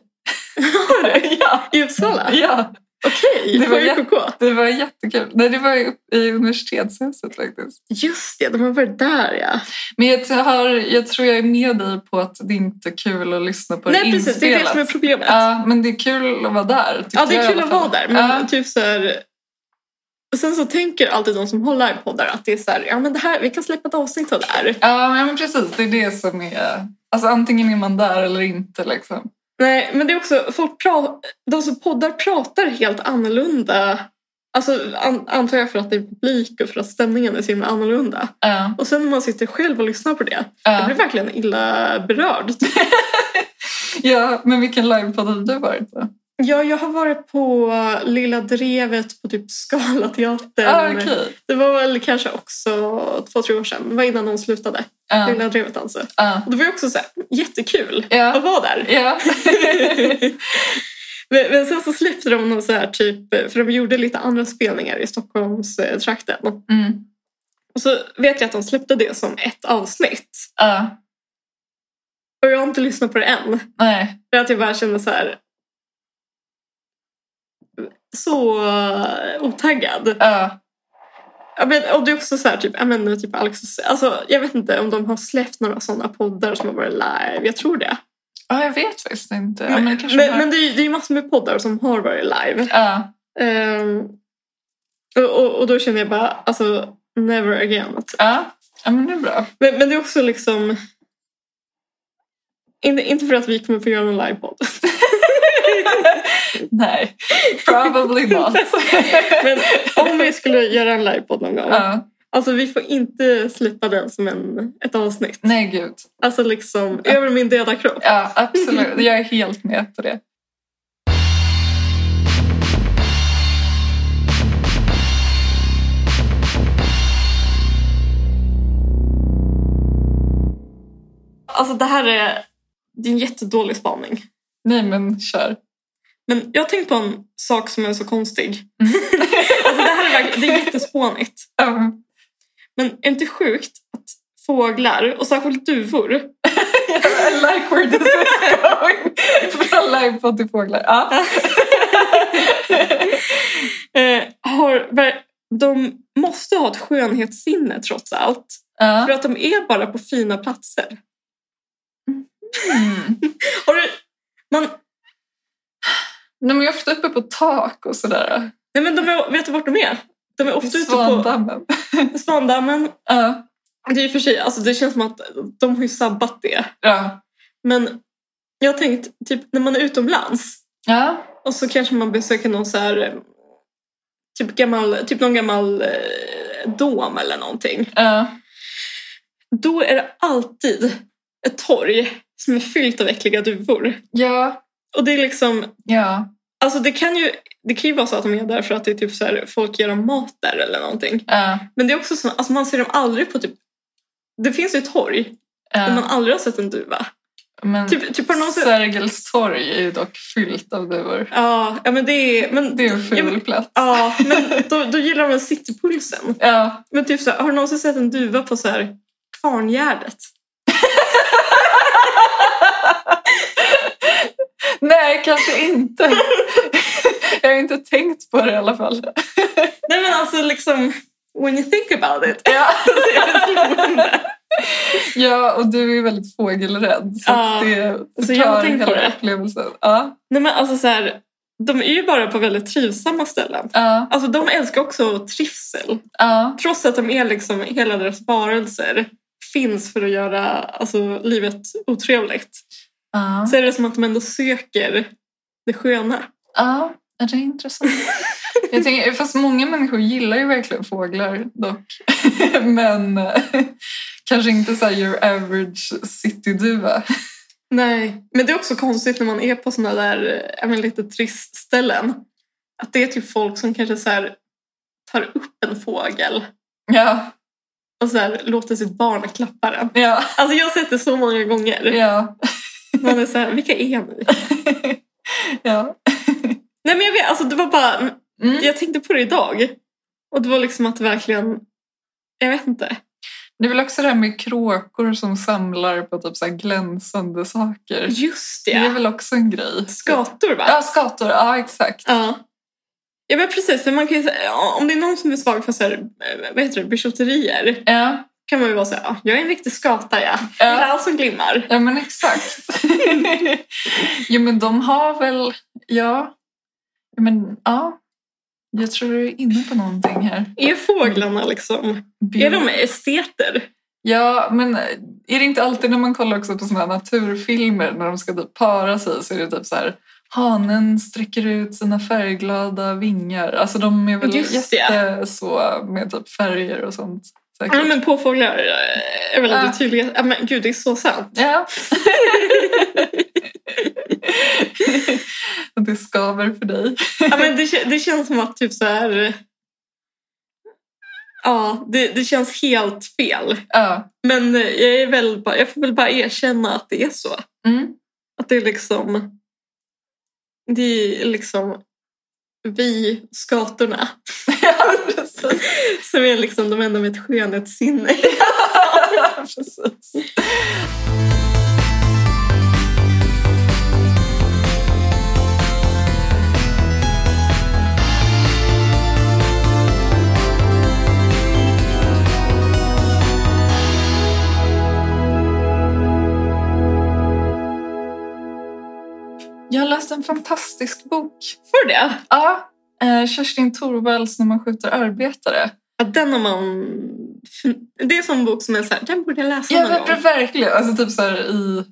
Speaker 2: Har du?
Speaker 3: Ja.
Speaker 2: I Uppsala?
Speaker 3: ja.
Speaker 2: Okej,
Speaker 3: Det
Speaker 2: på
Speaker 3: var jätte-
Speaker 2: UKK.
Speaker 3: Det var jättekul. Nej, det var i, i universitetshuset faktiskt.
Speaker 2: Just det, de har varit där ja.
Speaker 3: Men jag, t- har, jag tror jag är med dig på att det inte är kul att lyssna på
Speaker 2: Nej
Speaker 3: det
Speaker 2: precis, det är det som är
Speaker 3: inspelat.
Speaker 2: problemet.
Speaker 3: Ja, men det är kul att vara där. tycker
Speaker 2: Ja, det
Speaker 3: jag i
Speaker 2: är kul
Speaker 3: alla
Speaker 2: att
Speaker 3: fall.
Speaker 2: vara där. Men
Speaker 3: Ja.
Speaker 2: typ så här, sen så tänker alltid de som håller poddar att det är så här, ja men det här, vi kan släppa ett avsnitt av det här.
Speaker 3: Ja, men precis. Det är det som är... Alltså antingen är man där eller inte liksom.
Speaker 2: Nej, men det är också, folk pra, de som poddar pratar helt annorlunda. Alltså an, antar jag för att det är publik och för att stämningen är så himla annorlunda.
Speaker 3: Ja.
Speaker 2: Och sen när man sitter själv och lyssnar på det, jag
Speaker 3: Ja.
Speaker 2: blir verkligen illa berörd.
Speaker 3: ja, men vilken livepodd har du varit på?
Speaker 2: Ja, jag har varit på Lilla Drevet på typ Scalateatern.
Speaker 3: Ja, Ah, okej.
Speaker 2: Det var väl kanske också två, tre år sedan. Det var innan de slutade.
Speaker 3: Ja.
Speaker 2: Lilla Drevet alltså.
Speaker 3: Ja.
Speaker 2: Och det var ju också så här, jättekul att
Speaker 3: Ja.
Speaker 2: vara där.
Speaker 3: Ja.
Speaker 2: men, men sen så släppte de någon så här typ, för de gjorde lite andra spelningar i Stockholmstrakten.
Speaker 3: Mm.
Speaker 2: Och så vet jag att de släppte det som ett avsnitt.
Speaker 3: Ja.
Speaker 2: Och jag har inte lyssnat på det än.
Speaker 3: Nej.
Speaker 2: För att jag bara känner så här så eh, otaggad.
Speaker 3: Ja.
Speaker 2: Ja, men, och det är också så här, typ, ja, men, typ Alex och, alltså, jag vet inte om de har släppt några sådana poddar som har varit live. Jag tror det.
Speaker 3: ja, jag vet faktiskt inte. Ja,
Speaker 2: men, men,
Speaker 3: men det kanske men,
Speaker 2: men det är ju det är ju massor med poddar som har varit live.
Speaker 3: Ja.
Speaker 2: Ehm, och, och, och då känner jag bara, alltså never again.
Speaker 3: Ja. ja, men det är bra.
Speaker 2: Men, men det är också liksom... Inte, inte för att vi kommer få göra någon livepodd.
Speaker 3: Nej, probably not.
Speaker 2: Men om vi skulle göra en livepodd någon gång.
Speaker 3: ja.
Speaker 2: Alltså vi får inte släppa den som en, ett avsnitt.
Speaker 3: Nej, gud.
Speaker 2: Alltså liksom över min döda kropp.
Speaker 3: Ja, absolut. Jag är helt med på det.
Speaker 2: Alltså det här är, det är en jättedålig spaning.
Speaker 3: Nej, men kör.
Speaker 2: Men jag har tänkt på en
Speaker 3: Um,
Speaker 2: sak som är så konstig. alltså det här är, verkligen- det är jättespånigt.
Speaker 3: Ja, men-
Speaker 2: Men är det inte sjukt att fåglar, och särskilt duvor,
Speaker 3: I like where this is going. Från livepodd till fåglar. Ja.
Speaker 2: eh, har, ver- de måste ha ett skönhetssinne trots allt. För
Speaker 3: Ja.
Speaker 2: att de är bara på fina platser.
Speaker 3: Mm.
Speaker 2: Har du, man,
Speaker 3: De är ofta uppe på tak och sådär.
Speaker 2: nej men de är, vet du vart de är? De är ofta ute på
Speaker 3: Svandammen.
Speaker 2: Svandammen.
Speaker 3: Ja.
Speaker 2: Det är i och för sig, alltså det känns som att de har ju sabbat det.
Speaker 3: Ja.
Speaker 2: Men jag har tänkt, typ när man är utomlands
Speaker 3: Ja.
Speaker 2: och så kanske man besöker någon så här eh, typ, gammal, typ någon gammal eh, dom eller någonting.
Speaker 3: Ja.
Speaker 2: Då är det alltid ett torg som är fyllt av äckliga duvor.
Speaker 3: Ja.
Speaker 2: Och det är liksom,
Speaker 3: Ja.
Speaker 2: alltså det kan ju, det kan ju vara så att de är där för att det är typ så här, folk ger dem mat där eller någonting.
Speaker 3: Ja.
Speaker 2: Men det är också så, alltså man ser dem aldrig på typ, det finns ju ett torg där man
Speaker 3: Ja.
Speaker 2: aldrig har sett en duva.
Speaker 3: Men
Speaker 2: Typ, typ på något sätt,
Speaker 3: Sergels torg är ju dock fyllt av duvor.
Speaker 2: ja, ja men det är, men
Speaker 3: Det är en
Speaker 2: Ja, men-
Speaker 3: ful plats.
Speaker 2: Ja, men då, då gillar de väl citypulsen.
Speaker 3: Ja.
Speaker 2: Men typ så här, har du någonsin sett en duva på så här Kvarngärdet?
Speaker 3: Nej, kanske inte. Jag har inte tänkt på det i alla fall.
Speaker 2: Nej men alltså liksom, when you think about it.
Speaker 3: Ja.
Speaker 2: Så är det slående.
Speaker 3: Ja, och du är ju väldigt fågelrädd. Så
Speaker 2: Ja,
Speaker 3: att det
Speaker 2: så jag har
Speaker 3: förtar
Speaker 2: tänkt
Speaker 3: hela
Speaker 2: på det.
Speaker 3: upplevelsen. Ja,
Speaker 2: Nej men alltså så här, de är ju bara på väldigt trivsamma ställen.
Speaker 3: ja,
Speaker 2: Alltså de älskar också trivsel.
Speaker 3: ja,
Speaker 2: Trots att de är liksom, hela deras varelser finns för att göra alltså, livet otrevligt.
Speaker 3: ja.
Speaker 2: Så är det som att de ändå söker det sköna.
Speaker 3: ja. ja det är intressant. Jag tänker, fast många människor gillar ju verkligen fåglar dock. Men eh, kanske inte så här your average cityduva.
Speaker 2: Nej, men det är också konstigt när man är på såna där äh, men lite turistställen. Att det är typ folk som kanske så här tar upp en fågel
Speaker 3: Ja,
Speaker 2: och så här låter sitt barn klappa den.
Speaker 3: ja,
Speaker 2: Alltså jag har sett det så många gånger.
Speaker 3: ja.
Speaker 2: Man är så här, vilka är ni?
Speaker 3: ja.
Speaker 2: Nej men jag vet, alltså det var bara,
Speaker 3: Mm.
Speaker 2: jag tänkte på det idag. Och det var liksom att verkligen, jag vet inte.
Speaker 3: Det är väl också det här med kråkor som samlar på typ så här glänsande saker.
Speaker 2: Just
Speaker 3: Det är
Speaker 2: det,
Speaker 3: väl också en grej.
Speaker 2: skator va?
Speaker 3: Ja, skator. Ja, exakt.
Speaker 2: Ja. Ja men precis, för man kan ju säga, ja, om det är någon som är svag för så här, eh, vad heter det, bijouterier.
Speaker 3: Ja,
Speaker 2: kan man ju vara så här, "Ja, jag är en riktig skata jag.
Speaker 3: Ja.
Speaker 2: Gillar allt som glimmar.
Speaker 3: ja men exakt. jo, men de har väl... Ja. Ja, Men, ja. Jag tror du är inne på någonting här.
Speaker 2: Är fåglarna liksom, är de esteter?
Speaker 3: Mm. Ja, men är det inte alltid när man kollar också på såna här naturfilmer när de ska typ para sig så är det typ så här hanen sträcker ut sina färgglada vingar. Alltså de är väl
Speaker 2: Just det.
Speaker 3: jätte så med typ färger och sånt. Säkert.
Speaker 2: Ja men påfåglar eh, är väldigt
Speaker 3: Ja.
Speaker 2: tydliga. Ja, men gud det är så sant.
Speaker 3: Ja. Och det skaver för dig.
Speaker 2: Ja, men det, kä- det känns som att typ så här... eh, Ja, det, det känns helt fel.
Speaker 3: Ja.
Speaker 2: Men eh, jag, är väl bara, jag får väl bara erkänna att det är så.
Speaker 3: Mm.
Speaker 2: Att det är liksom... Det är liksom vi, skatorna,
Speaker 3: ja, precis.
Speaker 2: som är liksom de enda med ett skönhetssinne.
Speaker 3: precis. Jag har läst en fantastisk bok.
Speaker 2: För det?
Speaker 3: Ja, eh, Kerstin Thorvalds När man skjuter arbetare.
Speaker 2: Ja, den har man... Det är en sån bok som är så här, den borde jag läsa
Speaker 3: Ja,
Speaker 2: någon
Speaker 3: men
Speaker 2: gång.
Speaker 3: verkligen. Alltså typ så här i,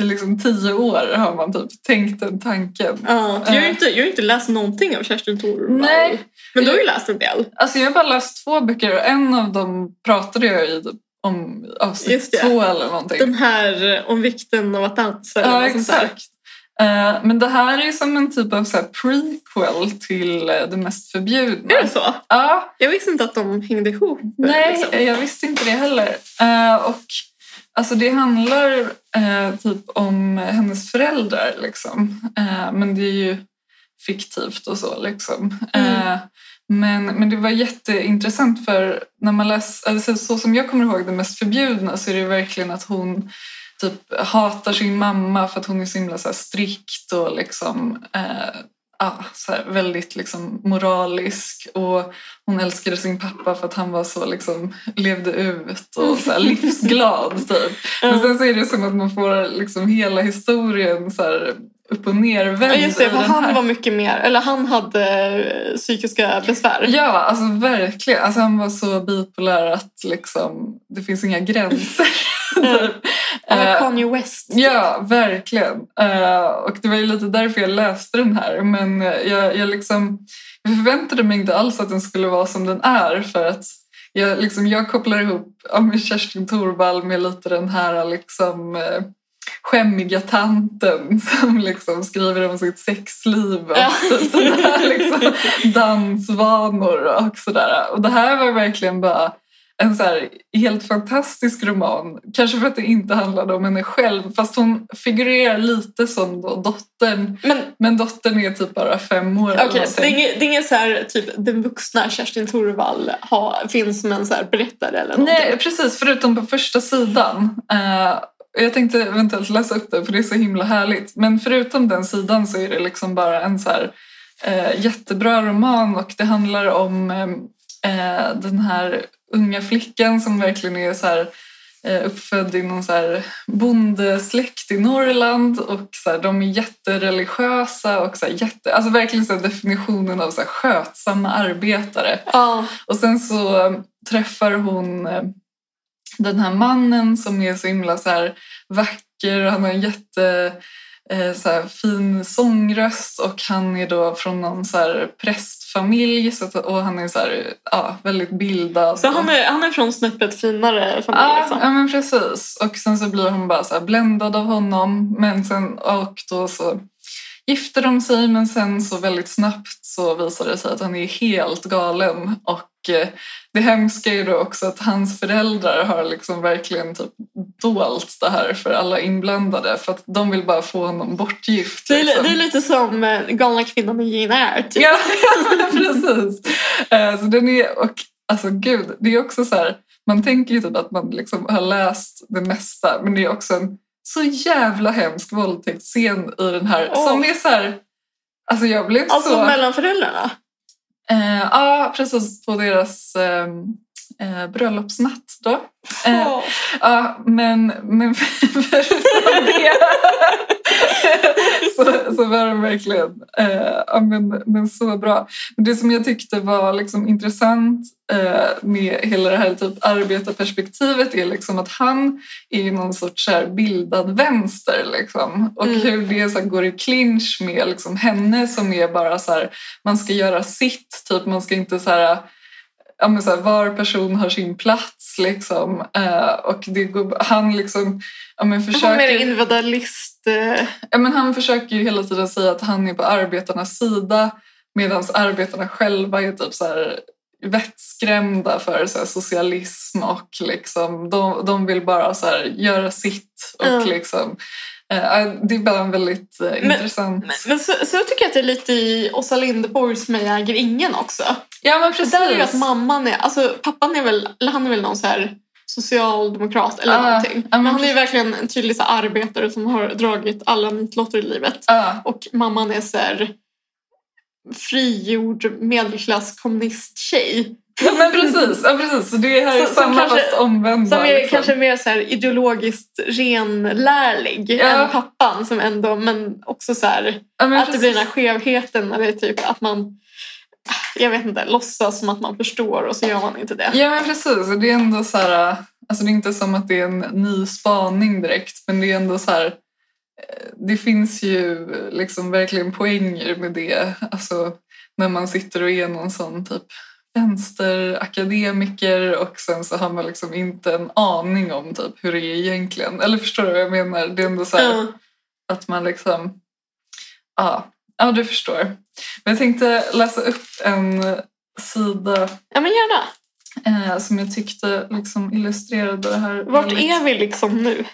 Speaker 3: i liksom tio år har man typ tänkt den tanken.
Speaker 2: Ja, jag, har ju inte, jag har ju inte läst någonting av Kerstin Thorvald.
Speaker 3: Eh. Nej,
Speaker 2: Men du har ju läst en del.
Speaker 3: alltså jag har bara läst två böcker och en av dem pratade jag i typ om i
Speaker 2: Just
Speaker 3: avsnitt
Speaker 2: det.
Speaker 3: två eller någonting.
Speaker 2: Den här eh, om vikten av att dansa. eller
Speaker 3: ja,
Speaker 2: något sånt där.
Speaker 3: exakt. Eh, men det här är som en typ av så här prequel till eh, Det mest förbjudna.
Speaker 2: Är det så?
Speaker 3: Ja,
Speaker 2: Jag visste inte att de hängde ihop. eh,
Speaker 3: Nej,
Speaker 2: liksom.
Speaker 3: jag visste inte det heller. Eh, och alltså, Det handlar eh, typ om hennes föräldrar, liksom. Eh, men det är ju fiktivt och så. Liksom.
Speaker 2: Mm.
Speaker 3: Eh, men, men det var jätteintressant för när man läser, alltså, så som jag kommer ihåg det mest förbjudna så är det ju verkligen att hon typ hatar sin mamma för att hon är så himla så här, strikt och liksom, eh, ah, så här, väldigt liksom, moralisk. Och hon älskade sin pappa för att han var så liksom, levde ut
Speaker 2: Mm.
Speaker 3: och så här, livsglad. Typ. Men sen så är det som att man får liksom hela historien så här upp och
Speaker 2: Ja,
Speaker 3: nervänd.
Speaker 2: just det,
Speaker 3: i
Speaker 2: för
Speaker 3: den
Speaker 2: han
Speaker 3: här.
Speaker 2: var mycket mer, eller han hade eh, psykiska besvär.
Speaker 3: Ja, alltså verkligen. Alltså, han var så bipolär att liksom, det finns inga gränser. typ.
Speaker 2: Han var
Speaker 3: Eh,
Speaker 2: Kanye West.
Speaker 3: Ja, verkligen. Eh, och det var ju lite därför jag läste den här. Men eh, jag, jag, liksom, jag förväntade mig inte alls att den skulle vara som den är. För att jag, liksom, jag kopplar ihop ja, med Kerstin Thorvall med lite den här liksom, eh, skämmiga tanten som liksom skriver om sitt sexliv och
Speaker 2: Ja.
Speaker 3: typ sådär, liksom, dansvanor och sådär. Och det här var verkligen bara en så här helt fantastisk roman. Kanske för att det inte handlade om henne själv, fast hon figurerar lite som då dottern.
Speaker 2: Men
Speaker 3: Men dottern är typ bara fem år. eller
Speaker 2: Okej, så det är
Speaker 3: någonting.
Speaker 2: inget, det är inget så här, typ den vuxna Kerstin Thorvall ha, finns som en så här berättare eller någonting?
Speaker 3: Nej, precis. Förutom på första sidan. Eh, och jag tänkte eventuellt läsa upp den, för det är så himla härligt. Men förutom den sidan så är det liksom bara en så här, eh, jättebra roman och det handlar om eh, eh, den här unga flickan som verkligen är så här, eh, uppfödd i någon så här bondesläkt i Norrland och så här, de är jättereligiösa och så här, jätte, alltså verkligen så här definitionen av så här, skötsamma arbetare.
Speaker 2: Ja,
Speaker 3: Och sen så eh, träffar hon eh, den här mannen som är så himla så här vacker. Han har en jätte eh, så här, fin sångröst och han är då från någon så här prästfamilj så att, och han är så här, ja, väldigt bildad. och
Speaker 2: så han är, han är från snäppet finare familj
Speaker 3: Ja,
Speaker 2: liksom.
Speaker 3: ja, men precis. Och sen så blir hon bara så här bländad av honom. Men sen, och då så gifter de sig men sen så väldigt snabbt så visar det sig att han är helt galen. Och eh, det hemska är då också att hans föräldrar har liksom verkligen typ dolt det här för alla inblandade. För att de vill bara få honom bortgift.
Speaker 2: Det, är,
Speaker 3: liksom.
Speaker 2: det är lite som eh, galna kvinnan i Jane Eyre. Typ.
Speaker 3: Ja, precis. Eh, Så den är, och alltså gud, det är också så här, man tänker ju typ att man liksom har läst det mesta, men det är också en så jävla hemsk våldtäktsscen i den här
Speaker 2: Åh.
Speaker 3: som är så här, alltså jag blev
Speaker 2: Alltså
Speaker 3: så...
Speaker 2: mellan föräldrarna.
Speaker 3: Eh, ja, precis, på deras eh, eh, bröllopsnatt då. Eh,
Speaker 2: Åh.
Speaker 3: Ja, men, men förutom det så, så var den verkligen eh, ja, men, men så bra. Men det som jag tyckte var liksom intressant eh, med hela det här typ arbetarperspektivet är liksom att han är ju någon sorts så här bildad vänster liksom. och
Speaker 2: Mm.
Speaker 3: hur det så här går i clinch med liksom henne som är bara så här, man ska göra sitt, typ man ska inte så här ja, men så här, var person har sin plats. Liksom. Eh, och det går, han liksom, ja, men
Speaker 2: Han är
Speaker 3: försöker,
Speaker 2: individualist. eh,
Speaker 3: ja, men han försöker ju hela tiden säga att han är på arbetarnas sida medan arbetarna själva är typ så här vettskrämda för så här socialism och liksom, de, de vill bara så här göra sitt. Och
Speaker 2: Mm.
Speaker 3: liksom, eh, det är bara en väldigt eh, intressant...
Speaker 2: Men, men så, så tycker jag att det är lite i Åsa Linderborgs Mig äger ingen också.
Speaker 3: ja, men
Speaker 2: Det
Speaker 3: precis.
Speaker 2: där är ju att mamman är, alltså pappan är väl, eller han är väl någon så här socialdemokrat eller
Speaker 3: Ah,
Speaker 2: någonting.
Speaker 3: ja, men
Speaker 2: men han är ju
Speaker 3: precis.
Speaker 2: verkligen en tydlig så här, arbetare som har dragit alla nitlotter i livet.
Speaker 3: Ja.
Speaker 2: Och mamman är så här frigjord medelklasskommunisttjej.
Speaker 3: Ja, men precis, ja, precis. Så det här är
Speaker 2: Som- som
Speaker 3: samma
Speaker 2: kanske-
Speaker 3: fast omvända.
Speaker 2: Som är
Speaker 3: liksom.
Speaker 2: kanske mer så här ideologiskt renlärlig
Speaker 3: Ja.
Speaker 2: än pappan som ändå, men också så här
Speaker 3: Ja, men
Speaker 2: att det blir den
Speaker 3: precis.
Speaker 2: här skevheten när det är typ att man, jag vet inte, låtsas som att man förstår och så gör man inte det.
Speaker 3: Ja men precis, och det är ändå så här, alltså det är inte som att det är en ny spaning direkt men det är ändå så här, eh, det finns ju liksom verkligen poänger med det, alltså när man sitter och är någon sån typ vänsterakademiker och sen så har man liksom inte en aning om typ hur det är egentligen. Eller förstår du vad jag menar? Det är ändå så här,
Speaker 2: Ja.
Speaker 3: att man liksom... Ja, ja, du förstår. Men jag tänkte läsa upp en sida
Speaker 2: Ja men gärna.
Speaker 3: eh, som jag tyckte liksom illustrerade det här.
Speaker 2: Vart
Speaker 3: väldigt-
Speaker 2: är vi liksom nu?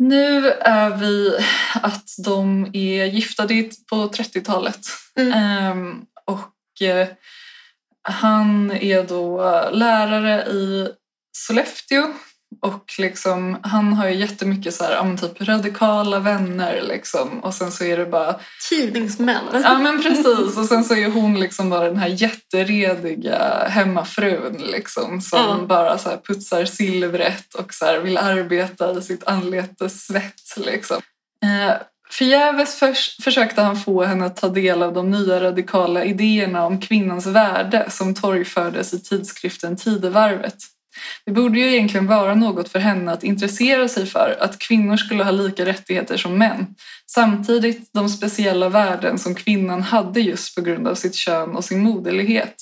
Speaker 3: Nu är vi att de är gifta det är på 30-talet.
Speaker 2: Mm.
Speaker 3: Ehm, och eh, han är då lärare i Sollefteå. Och liksom, han har ju jättemycket så här, ja, men typ radikala vänner. Liksom. Och sen så är det bara
Speaker 2: Tidningsmän.
Speaker 3: Ja men precis och sen så är hon liksom bara den här jätterediga hemmafrun liksom som
Speaker 2: Ja.
Speaker 3: bara så här putsar silvret och så här vill arbeta i sitt anletes svett liksom. Eh, förgäves förs- försökte han få henne att ta del av de nya radikala idéerna om kvinnans värde som torgfördes i tidskriften Tidevarvet. Det borde ju egentligen vara något för henne att intressera sig för, att kvinnor skulle ha lika rättigheter som män. Samtidigt de speciella värden som kvinnan hade just på grund av sitt kön och sin moderlighet.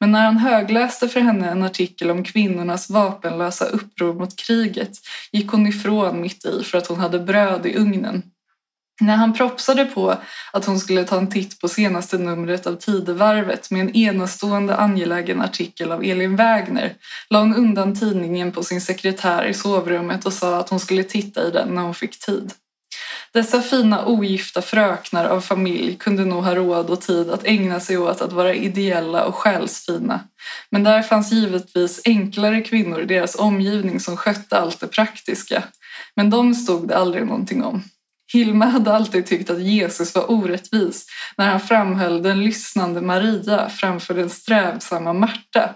Speaker 3: Men när han högläste för henne en artikel om kvinnornas vapenlösa uppror mot kriget gick hon ifrån mitt i för att hon hade bröd i ugnen. När han propsade på att hon skulle ta en titt på senaste numret av Tidevarvet med en enastående angelägen artikel av Elin Wägner la hon undan tidningen på sin sekretär i sovrummet och sa att hon skulle titta i den när hon fick tid. Dessa fina ogifta fröknar av familj kunde nog ha råd och tid att ägna sig åt att vara ideella och själsfina. Men där fanns givetvis enklare kvinnor i deras omgivning som skötte allt det praktiska. Men de stod det aldrig någonting om. Hilma hade alltid tyckt att Jesus var orättvis när han framhöll den lyssnande Maria framför den strävsamma Marta.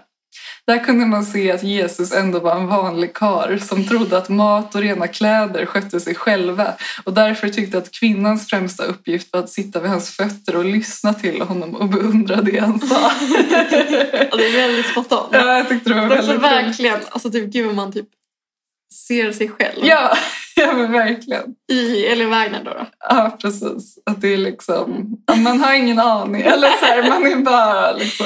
Speaker 3: Där kunde man se att Jesus ändå var en vanlig karl som trodde att mat och rena kläder skötte sig själva och därför tyckte att kvinnans främsta uppgift var att sitta vid hans fötter och lyssna till honom och beundra det han sa.
Speaker 2: Ja, det är väldigt spot on.
Speaker 3: ja, jag tyckte det var
Speaker 2: Det är också
Speaker 3: väldigt roligt.
Speaker 2: verkligen, alltså typ gud vad man typ ser sig själv
Speaker 3: Ja, ja men verkligen.
Speaker 2: i Elin Wägner då. då.
Speaker 3: Ja, precis. Att det är liksom, ja, man har ingen aning. Eller så här, man är bara liksom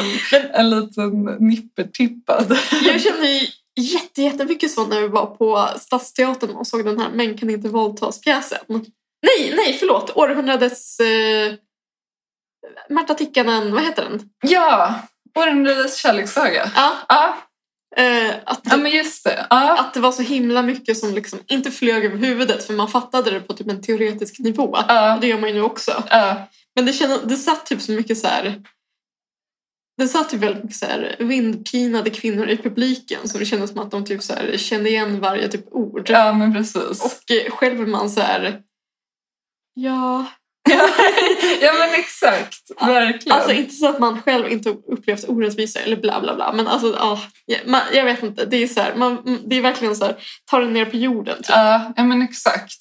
Speaker 3: en liten nippertippad.
Speaker 2: Jag kände ju jätte, jättemycket så när vi var på Stadsteatern och såg den här Män kan inte våldtas-pjäsen. Nej, nej, förlåt. Århundradets... Eh, Märta Tikkanen, vad heter den?
Speaker 3: Ja, århundradets kärlekssaga.
Speaker 2: Ja,
Speaker 3: Ja,
Speaker 2: eh, att,
Speaker 3: ja, men just det. Ja,
Speaker 2: att det var så himla mycket som liksom inte flög över huvudet för man fattade det på typ en teoretisk nivå.
Speaker 3: ja,
Speaker 2: Och det gör man ju nu också.
Speaker 3: ja.
Speaker 2: Men det, kände, det satt typ så mycket så här... Det satt typ väldigt mycket så här vindpinade kvinnor i publiken så det kändes som att de typ så här kände igen varje typ ord.
Speaker 3: ja men precis.
Speaker 2: Och eh, själv är man så här... Ja...
Speaker 3: Ja, men exakt. Verkligen.
Speaker 2: Alltså inte så att man själv inte upplevt orättvisa eller bla bla bla. Men alltså, ja, ja, man, jag vet inte. Det är, så här, man, mm, det är verkligen så här, ta den ner på jorden. Typ.
Speaker 3: Ja, ja men exakt.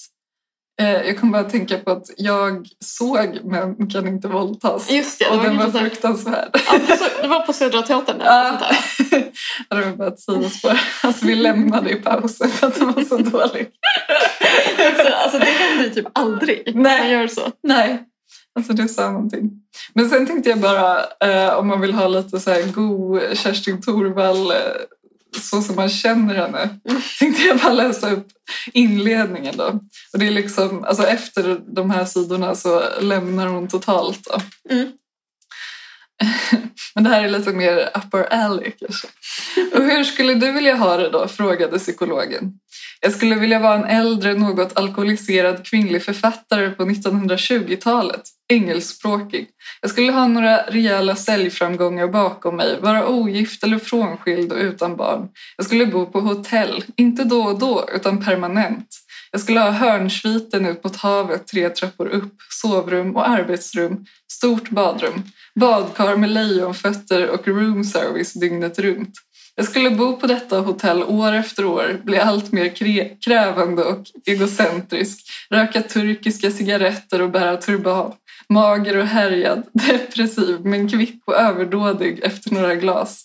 Speaker 3: Eh, jag kom bara att tänka på att jag såg Män kan inte våldtas.
Speaker 2: Just det, det
Speaker 3: och
Speaker 2: var
Speaker 3: den var
Speaker 2: kanske så här-
Speaker 3: fruktansvärd.
Speaker 2: Ja, men så- det var på Södra Teatern. Eller
Speaker 3: Ja.
Speaker 2: något sånt där.
Speaker 3: Ja, det var bara ett sidospår. Alltså, vi lämnade i pausen för att den var så dålig.
Speaker 2: Så, alltså, det händer ju typ aldrig.
Speaker 3: Nej.
Speaker 2: Man gör så.
Speaker 3: Nej, alltså du sa någonting. Men sen tänkte jag bara eh, om man vill ha lite så här god Kerstin Thorvall eh, så som man känner henne. Tänkte jag bara läsa upp inledningen då. Och det är liksom, alltså efter de här sidorna så lämnar hon totalt då.
Speaker 2: Mm.
Speaker 3: Men det här är lite mer upper alley kanske. Och hur skulle du vilja ha det då? frågade psykologen. Jag skulle vilja vara en äldre, något alkoholiserad kvinnlig författare på 1920-talet. Engelskspråkig. Jag skulle ha några rejäla säljframgångar bakom mig, vara ogift eller frånskild och utan barn. Jag skulle bo på hotell, inte då och då, utan permanent. Jag skulle ha hörnsviten ut mot havet tre trappor upp, sovrum och arbetsrum, stort badrum, badkar med lejonfötter och room service dygnet runt. Jag skulle bo på detta hotell år efter år, bli allt mer kre- krävande och egocentrisk, röka turkiska cigaretter och bära turban. Mager och härjad, depressiv men kvick och överdådig efter några glas.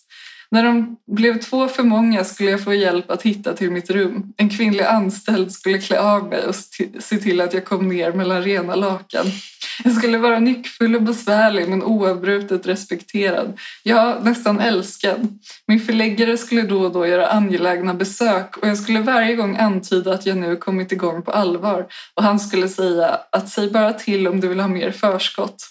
Speaker 3: När de blev två för många skulle jag få hjälp att hitta till mitt rum. En kvinnlig anställd skulle klä av mig och st- se till att jag kom ner mellan rena lakan. Jag skulle vara nyckfull och besvärlig men oavbrutet respekterad. Ja, nästan älskad. Min förläggare skulle då och då göra angelägna besök och jag skulle varje gång antyda att jag nu kommit igång på allvar och han skulle säga att säg bara till om du vill ha mer förskott.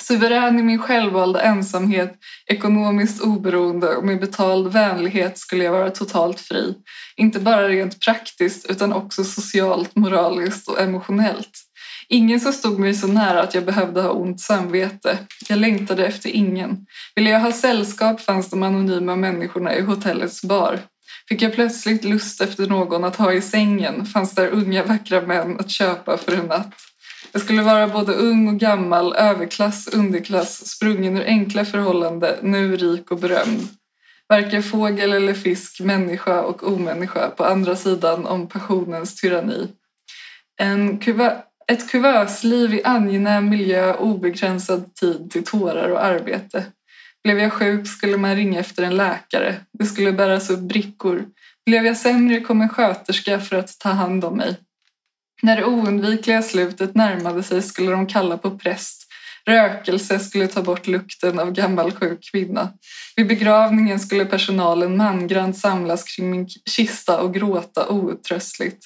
Speaker 3: Suverän i min självvalda ensamhet, ekonomiskt oberoende och med betald vänlighet skulle jag vara totalt fri. Inte bara rent praktiskt utan också socialt, moraliskt och emotionellt. Ingen som stod mig så nära att jag behövde ha ont samvete. Jag längtade efter ingen. Ville jag ha sällskap fanns de anonyma människorna i hotellets bar. Fick jag plötsligt lust efter någon att ha i sängen fanns där unga vackra män att köpa för en natt. Jag skulle vara både ung och gammal, överklass, underklass, sprungen ur enkla förhållanden, nu rik och berömd. Varken fågel eller fisk, människa och omänniska på andra sidan om passionens tyranni. En kuva- ett kuvösliv i angenäm miljö, obegränsad tid till tårar och arbete. Blev jag sjuk skulle man ringa efter en läkare. Det skulle bäras upp brickor. Blev jag sämre kom en sköterska för att ta hand om mig. När det oundvikliga slutet närmade sig skulle de kalla på präst. Rökelse skulle ta bort lukten av gammal sjuk kvinna. Vid begravningen skulle personalen mangrant samlas kring min kista och gråta outtröstligt.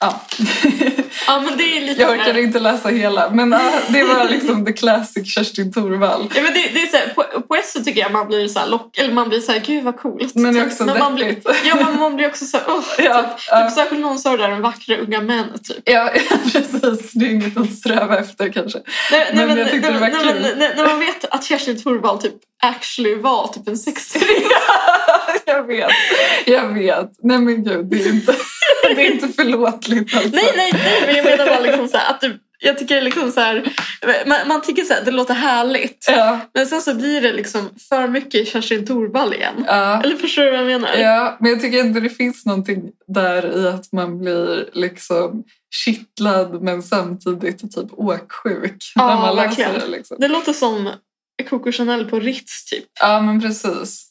Speaker 3: Ja.
Speaker 2: Ja, men det är lite...
Speaker 3: Jag orkade inte läsa hela, men ah, det var liksom the classic Kerstin Thorvall.
Speaker 2: Ja, men det, det är så här, på, på ett sätt tycker jag man blir så här lock, eller man blir så här, gud vad coolt.
Speaker 3: Men det är
Speaker 2: Typ.
Speaker 3: också
Speaker 2: man blir,
Speaker 3: deppigt.
Speaker 2: Ja, men man blir också så här, åh.
Speaker 3: Ja,
Speaker 2: Typ
Speaker 3: ja,
Speaker 2: särskilt någon sa det där om vackra unga män, typ.
Speaker 3: ja, precis. Det är inget att sträva efter kanske.
Speaker 2: Nej,
Speaker 3: Men jag tyckte det var
Speaker 2: nej,
Speaker 3: kul.
Speaker 2: men- nej, När man vet att Kerstin Thorvall typ actually var typ en 60-åring.
Speaker 3: jag vet, jag vet. Nej men gud, det är inte, det är inte förlåtligt alltså.
Speaker 2: Nej, nej, nej, men jag menar bara liksom så här, att du, jag tycker liksom så här, man, man tycker så här, det låter härligt.
Speaker 3: Ja,
Speaker 2: Men sen så blir det liksom för mycket Kerstin Thorvall igen.
Speaker 3: ja.
Speaker 2: Eller förstår du vad jag menar?
Speaker 3: Ja, men jag tycker inte det finns någonting där i att man blir liksom kittlad men samtidigt typ åksjuk
Speaker 2: Ja,
Speaker 3: när man
Speaker 2: verkligen.
Speaker 3: läser det. Liksom.
Speaker 2: Det låter som Coco Chanel på Ritz typ.
Speaker 3: Ja, men precis.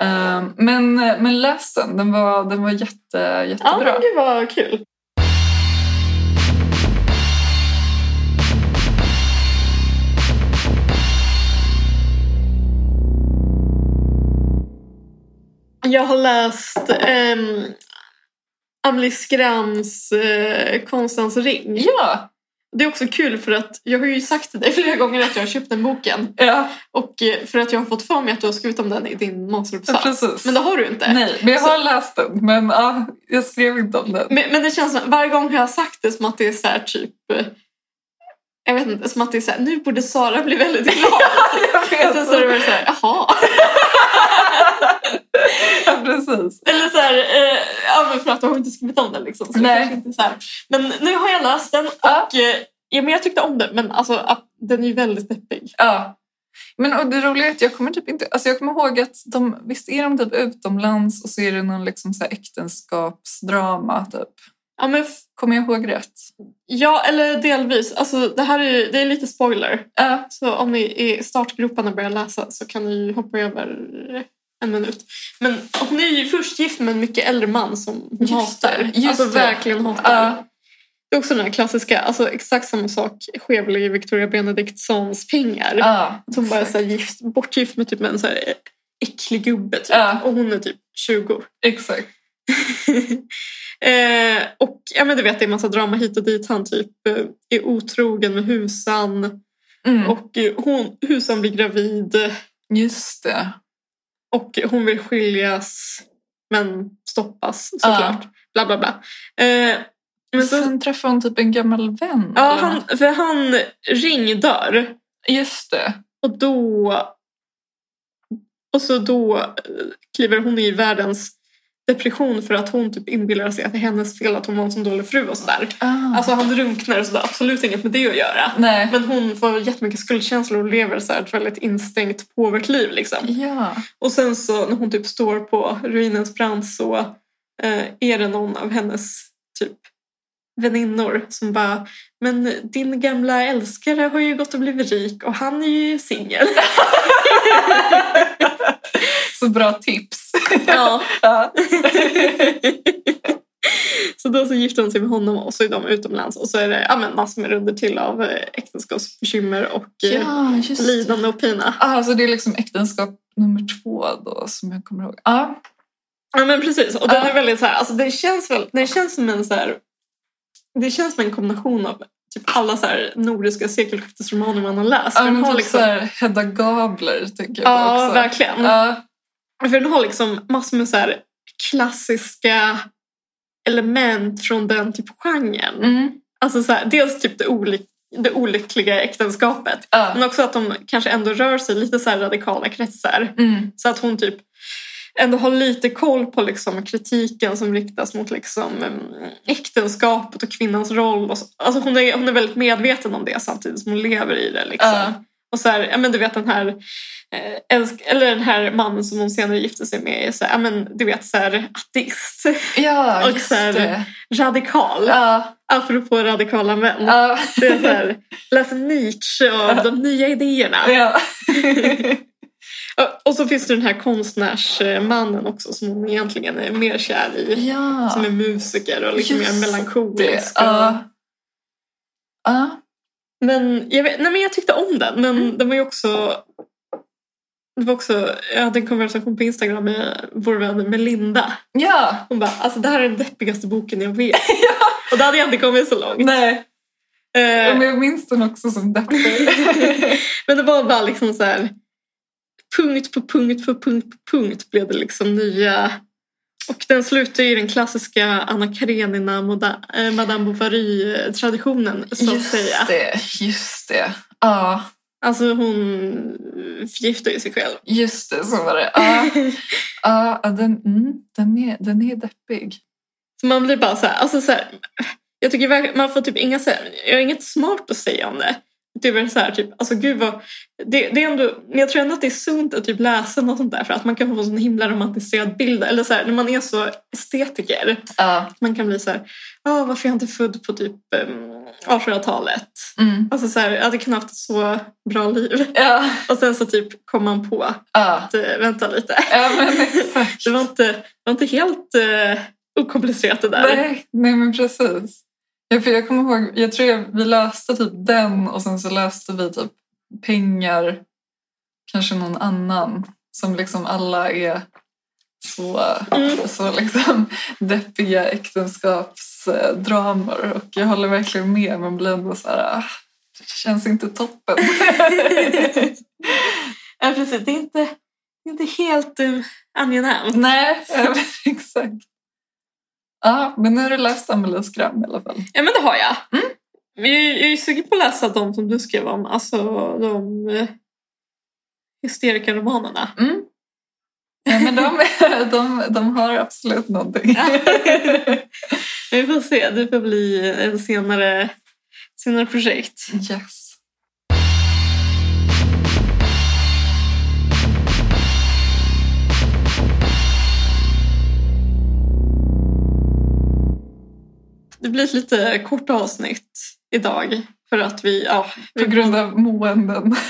Speaker 3: Ehm, men, men läs den, den var, den var jätte,
Speaker 2: Ja,
Speaker 3: jättebra.
Speaker 2: men gud vad kul. Jag har läst ehm, Amelie Skrams eh, Konstens ring.
Speaker 3: Ja,
Speaker 2: Det är också kul för att jag har ju sagt till dig flera gånger att jag har köpt den boken.
Speaker 3: ja,
Speaker 2: Och eh, för att jag har fått för mig att du har skrivit om den i din masteruppsats.
Speaker 3: precis.
Speaker 2: Men det har du inte.
Speaker 3: Nej, men jag har läst den, men ja, jag skrev inte om den.
Speaker 2: Men, men det känns som, varje gång jag har sagt det som att det är så här typ... eh, Jag vet inte, som att det är så här, nu borde Sara bli väldigt glad.
Speaker 3: jag
Speaker 2: Och sen så är det bara så här, jaha.
Speaker 3: ja, precis.
Speaker 2: Eller så här, eh, ja men för att du har inte skrivit om den liksom. Så Det
Speaker 3: Nej.
Speaker 2: kanske inte är så här. Men nu har jag läst den
Speaker 3: Ja.
Speaker 2: och eh, ja, men jag tyckte om den. Men alltså, att- den är ju väldigt deppig.
Speaker 3: Ja. Men och det roliga är att jag kommer typ inte... Alltså jag kommer ihåg att de, visst är de typ utomlands och så är det någon liksom så här äktenskapsdrama typ.
Speaker 2: Ja, men f-
Speaker 3: Kommer jag ihåg rätt?
Speaker 2: ja, eller delvis. Alltså, det här är ju det är lite spoiler.
Speaker 3: Ja.
Speaker 2: Så om ni är i startgroparna och börjar läsa så kan ni hoppa över en minut. Men hon är ju först gift med en mycket äldre man som hon
Speaker 3: Just
Speaker 2: hatar.
Speaker 3: det, just
Speaker 2: alltså
Speaker 3: det.
Speaker 2: verkligen hatar.
Speaker 3: Ja.
Speaker 2: Det är också den här klassiska, alltså exakt samma sak sker väl i Victoria Benediktssons pengar.
Speaker 3: Ja.
Speaker 2: Att hon bara är
Speaker 3: exakt.
Speaker 2: så här gift, bortgift med typ en så här äcklig gubbe typ.
Speaker 3: Ja.
Speaker 2: och hon är typ 20.
Speaker 3: Exakt.
Speaker 2: eh, och ja, men du vet, det är en massa drama hit och dit. Han typ eh, är otrogen med husan.
Speaker 3: Mm.
Speaker 2: Och eh, hon, husan blir gravid eh,
Speaker 3: Just det.
Speaker 2: och hon vill skiljas men stoppas såklart. Bla bla bla. Eh, men så,
Speaker 3: Sen träffade hon typ en gammal vän.
Speaker 2: ja,
Speaker 3: eller något.
Speaker 2: han, för han ringdör
Speaker 3: Just det.
Speaker 2: och då och så då eh, kliver hon i världens depression för att hon typ inbillar sig att det är hennes fel att hon var en så dålig fru och sådär.
Speaker 3: Ah.
Speaker 2: Alltså han drunknar och sådär, absolut inget med det att göra.
Speaker 3: Nej.
Speaker 2: Men hon får jättemycket skuldkänslor och lever så här ett väldigt instängt påvert liv liksom.
Speaker 3: Ja.
Speaker 2: Och sen så när hon typ står på ruinens brant så eh, är det någon av hennes typ väninnor som bara “men din gamla älskare har ju gått och blivit rik och han är ju singel”.
Speaker 3: Så bra tips.
Speaker 2: Ja.
Speaker 3: ja.
Speaker 2: så då så gifter hon sig med honom och så är de utomlands och så är det ja, men massor med runder till av eh, äktenskapsbekymmer och eh,
Speaker 3: ja, just det.
Speaker 2: lidande och pina.
Speaker 3: Ah, så det är liksom äktenskap nummer två då som jag kommer ihåg. Ja,
Speaker 2: Ja men precis och den
Speaker 3: Ja.
Speaker 2: är väldigt så här, alltså det känns väl, det känns som en så här, det känns som en kombination av typ alla så här nordiska sekelskiftesromaner man har läst.
Speaker 3: Ja,
Speaker 2: Den
Speaker 3: men
Speaker 2: har
Speaker 3: typ
Speaker 2: liksom-
Speaker 3: så här Hedda Gabler tänker jag på
Speaker 2: ja
Speaker 3: också.
Speaker 2: verkligen.
Speaker 3: Ja,
Speaker 2: För den har liksom massor med så här klassiska element från den typ genren.
Speaker 3: mm.
Speaker 2: Alltså så här, dels typ det, olyck- det olyckliga äktenskapet.
Speaker 3: ja.
Speaker 2: Men också att de kanske ändå rör sig i lite så här radikala kretsar.
Speaker 3: Mm.
Speaker 2: Så att hon typ ändå har lite koll på liksom kritiken som riktas mot liksom em, äktenskapet och kvinnans roll. Och så. Alltså hon, är, hon är väldigt medveten om det samtidigt som hon lever i det. Liksom.
Speaker 3: Ja.
Speaker 2: Och så här, ja, men du vet den här, eh, älsk- eller den här mannen som hon senare gifte sig med är så här, ja, men, du vet, så här, ateist,
Speaker 3: ja,
Speaker 2: Och
Speaker 3: just
Speaker 2: så här-
Speaker 3: det.
Speaker 2: radikal,
Speaker 3: Ja,
Speaker 2: apropå radikala män.
Speaker 3: ja,
Speaker 2: Det är så här, läser Nietzsche och de nya idéerna.
Speaker 3: ja.
Speaker 2: Ja, Och så finns det den här konstnärsmannen också som hon egentligen är mer kär i.
Speaker 3: ja.
Speaker 2: Som är musiker och liksom mer
Speaker 3: Just det.
Speaker 2: melankolisk. och-
Speaker 3: Ja. Ja.
Speaker 2: Men, jag vet, nej, men jag tyckte om den. Men
Speaker 3: Mm.
Speaker 2: den var ju också... Det var också... Jag hade en konversation på Instagram med vår vän Melinda.
Speaker 3: Ja.
Speaker 2: Hon bara, alltså det här är den deppigaste boken jag vet. Och då hade jag inte kommit så långt.
Speaker 3: Nej.
Speaker 2: Eh,
Speaker 3: Men jag minns den också som deppig.
Speaker 2: Men det var bara liksom så här... Punkt på punkt på punkt på punkt blev det liksom nya... Och den slutar ju i den klassiska Anna Karenina, Moda- eh, Madame Bovary-traditionen. Så att
Speaker 3: Just
Speaker 2: säga.
Speaker 3: det, just det. Ja,
Speaker 2: Alltså hon förgiftar ju sig själv.
Speaker 3: just det, så var det. Ja, ja, ja, den, mm, den, är, den är deppig.
Speaker 2: så man blir bara så här, alltså så här, jag tycker verkligen, man får typ inga, så här, jag har inget smart att säga om det. Det är väl så här, typ, alltså gud vad, det, det är ändå, men jag tror ändå att det är sunt att typ läsa något sånt där för att man kan få en sån himla romantiserad bild. Eller så här, när man är så estetiker,
Speaker 3: Ja,
Speaker 2: man kan bli så här, ah, varför är jag inte född på typ um, 1800-talet?
Speaker 3: mm,
Speaker 2: Alltså så här, jag hade kunnat haft ett så bra liv.
Speaker 3: ja,
Speaker 2: Och sen så typ kom man på att
Speaker 3: ja,
Speaker 2: eh, vänta lite.
Speaker 3: ja men exakt.
Speaker 2: Det var inte, det var inte helt eh, okomplicerat det där.
Speaker 3: Nej, nej, men precis. Ja, för jag kommer ihåg, jag tror jag, vi läste typ den och sen så läste vi typ pengar, kanske någon annan som liksom alla är så,
Speaker 2: Mm.
Speaker 3: så liksom deppiga äktenskapsdramor och jag håller verkligen med men blir ändå så här, ah, det känns inte toppen.
Speaker 2: Ja, precis. Det är inte, det är inte helt um, angenämt.
Speaker 3: nej, ja, men exakt. Ja, men nu har du läst Amelies Skram i alla fall.
Speaker 2: Ja, men det har jag. Jag, är- jag är ju sugen på att läsa de som du skrev om, alltså de eh, hysterikaromanerna.
Speaker 3: Mm. Ja, men de, de, de har absolut någonting.
Speaker 2: Vi får se, det får bli en senare, senare projekt.
Speaker 3: Yes.
Speaker 2: Det blir ett lite kort avsnitt idag för att vi... Ja, vi
Speaker 3: På grund av måenden.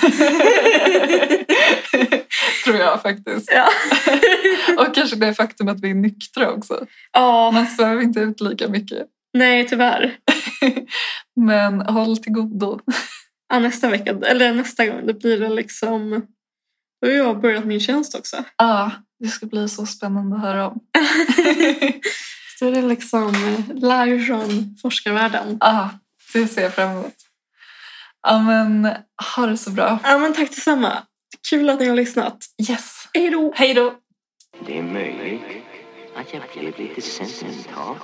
Speaker 3: Tror jag faktiskt.
Speaker 2: Ja.
Speaker 3: Och kanske det faktum att vi är nyktra också.
Speaker 2: ja,
Speaker 3: Man svävar inte ut lika mycket.
Speaker 2: nej tyvärr.
Speaker 3: Men håll till godo.
Speaker 2: Ja, nästa vecka, eller nästa gång, då blir det liksom... Då har jag börjat min tjänst också.
Speaker 3: Ja, det ska bli så spännande att höra om.
Speaker 2: Så det är liksom eh, live från forskarvärlden.
Speaker 3: Ja, det ser jag fram emot. Ja, men ha det så bra.
Speaker 2: Ja, men tack detsamma. Kul att ni har lyssnat.
Speaker 3: Yes.
Speaker 2: Hej då!
Speaker 3: Hej då!
Speaker 1: Det är möjligt att jag blev lite sentimental.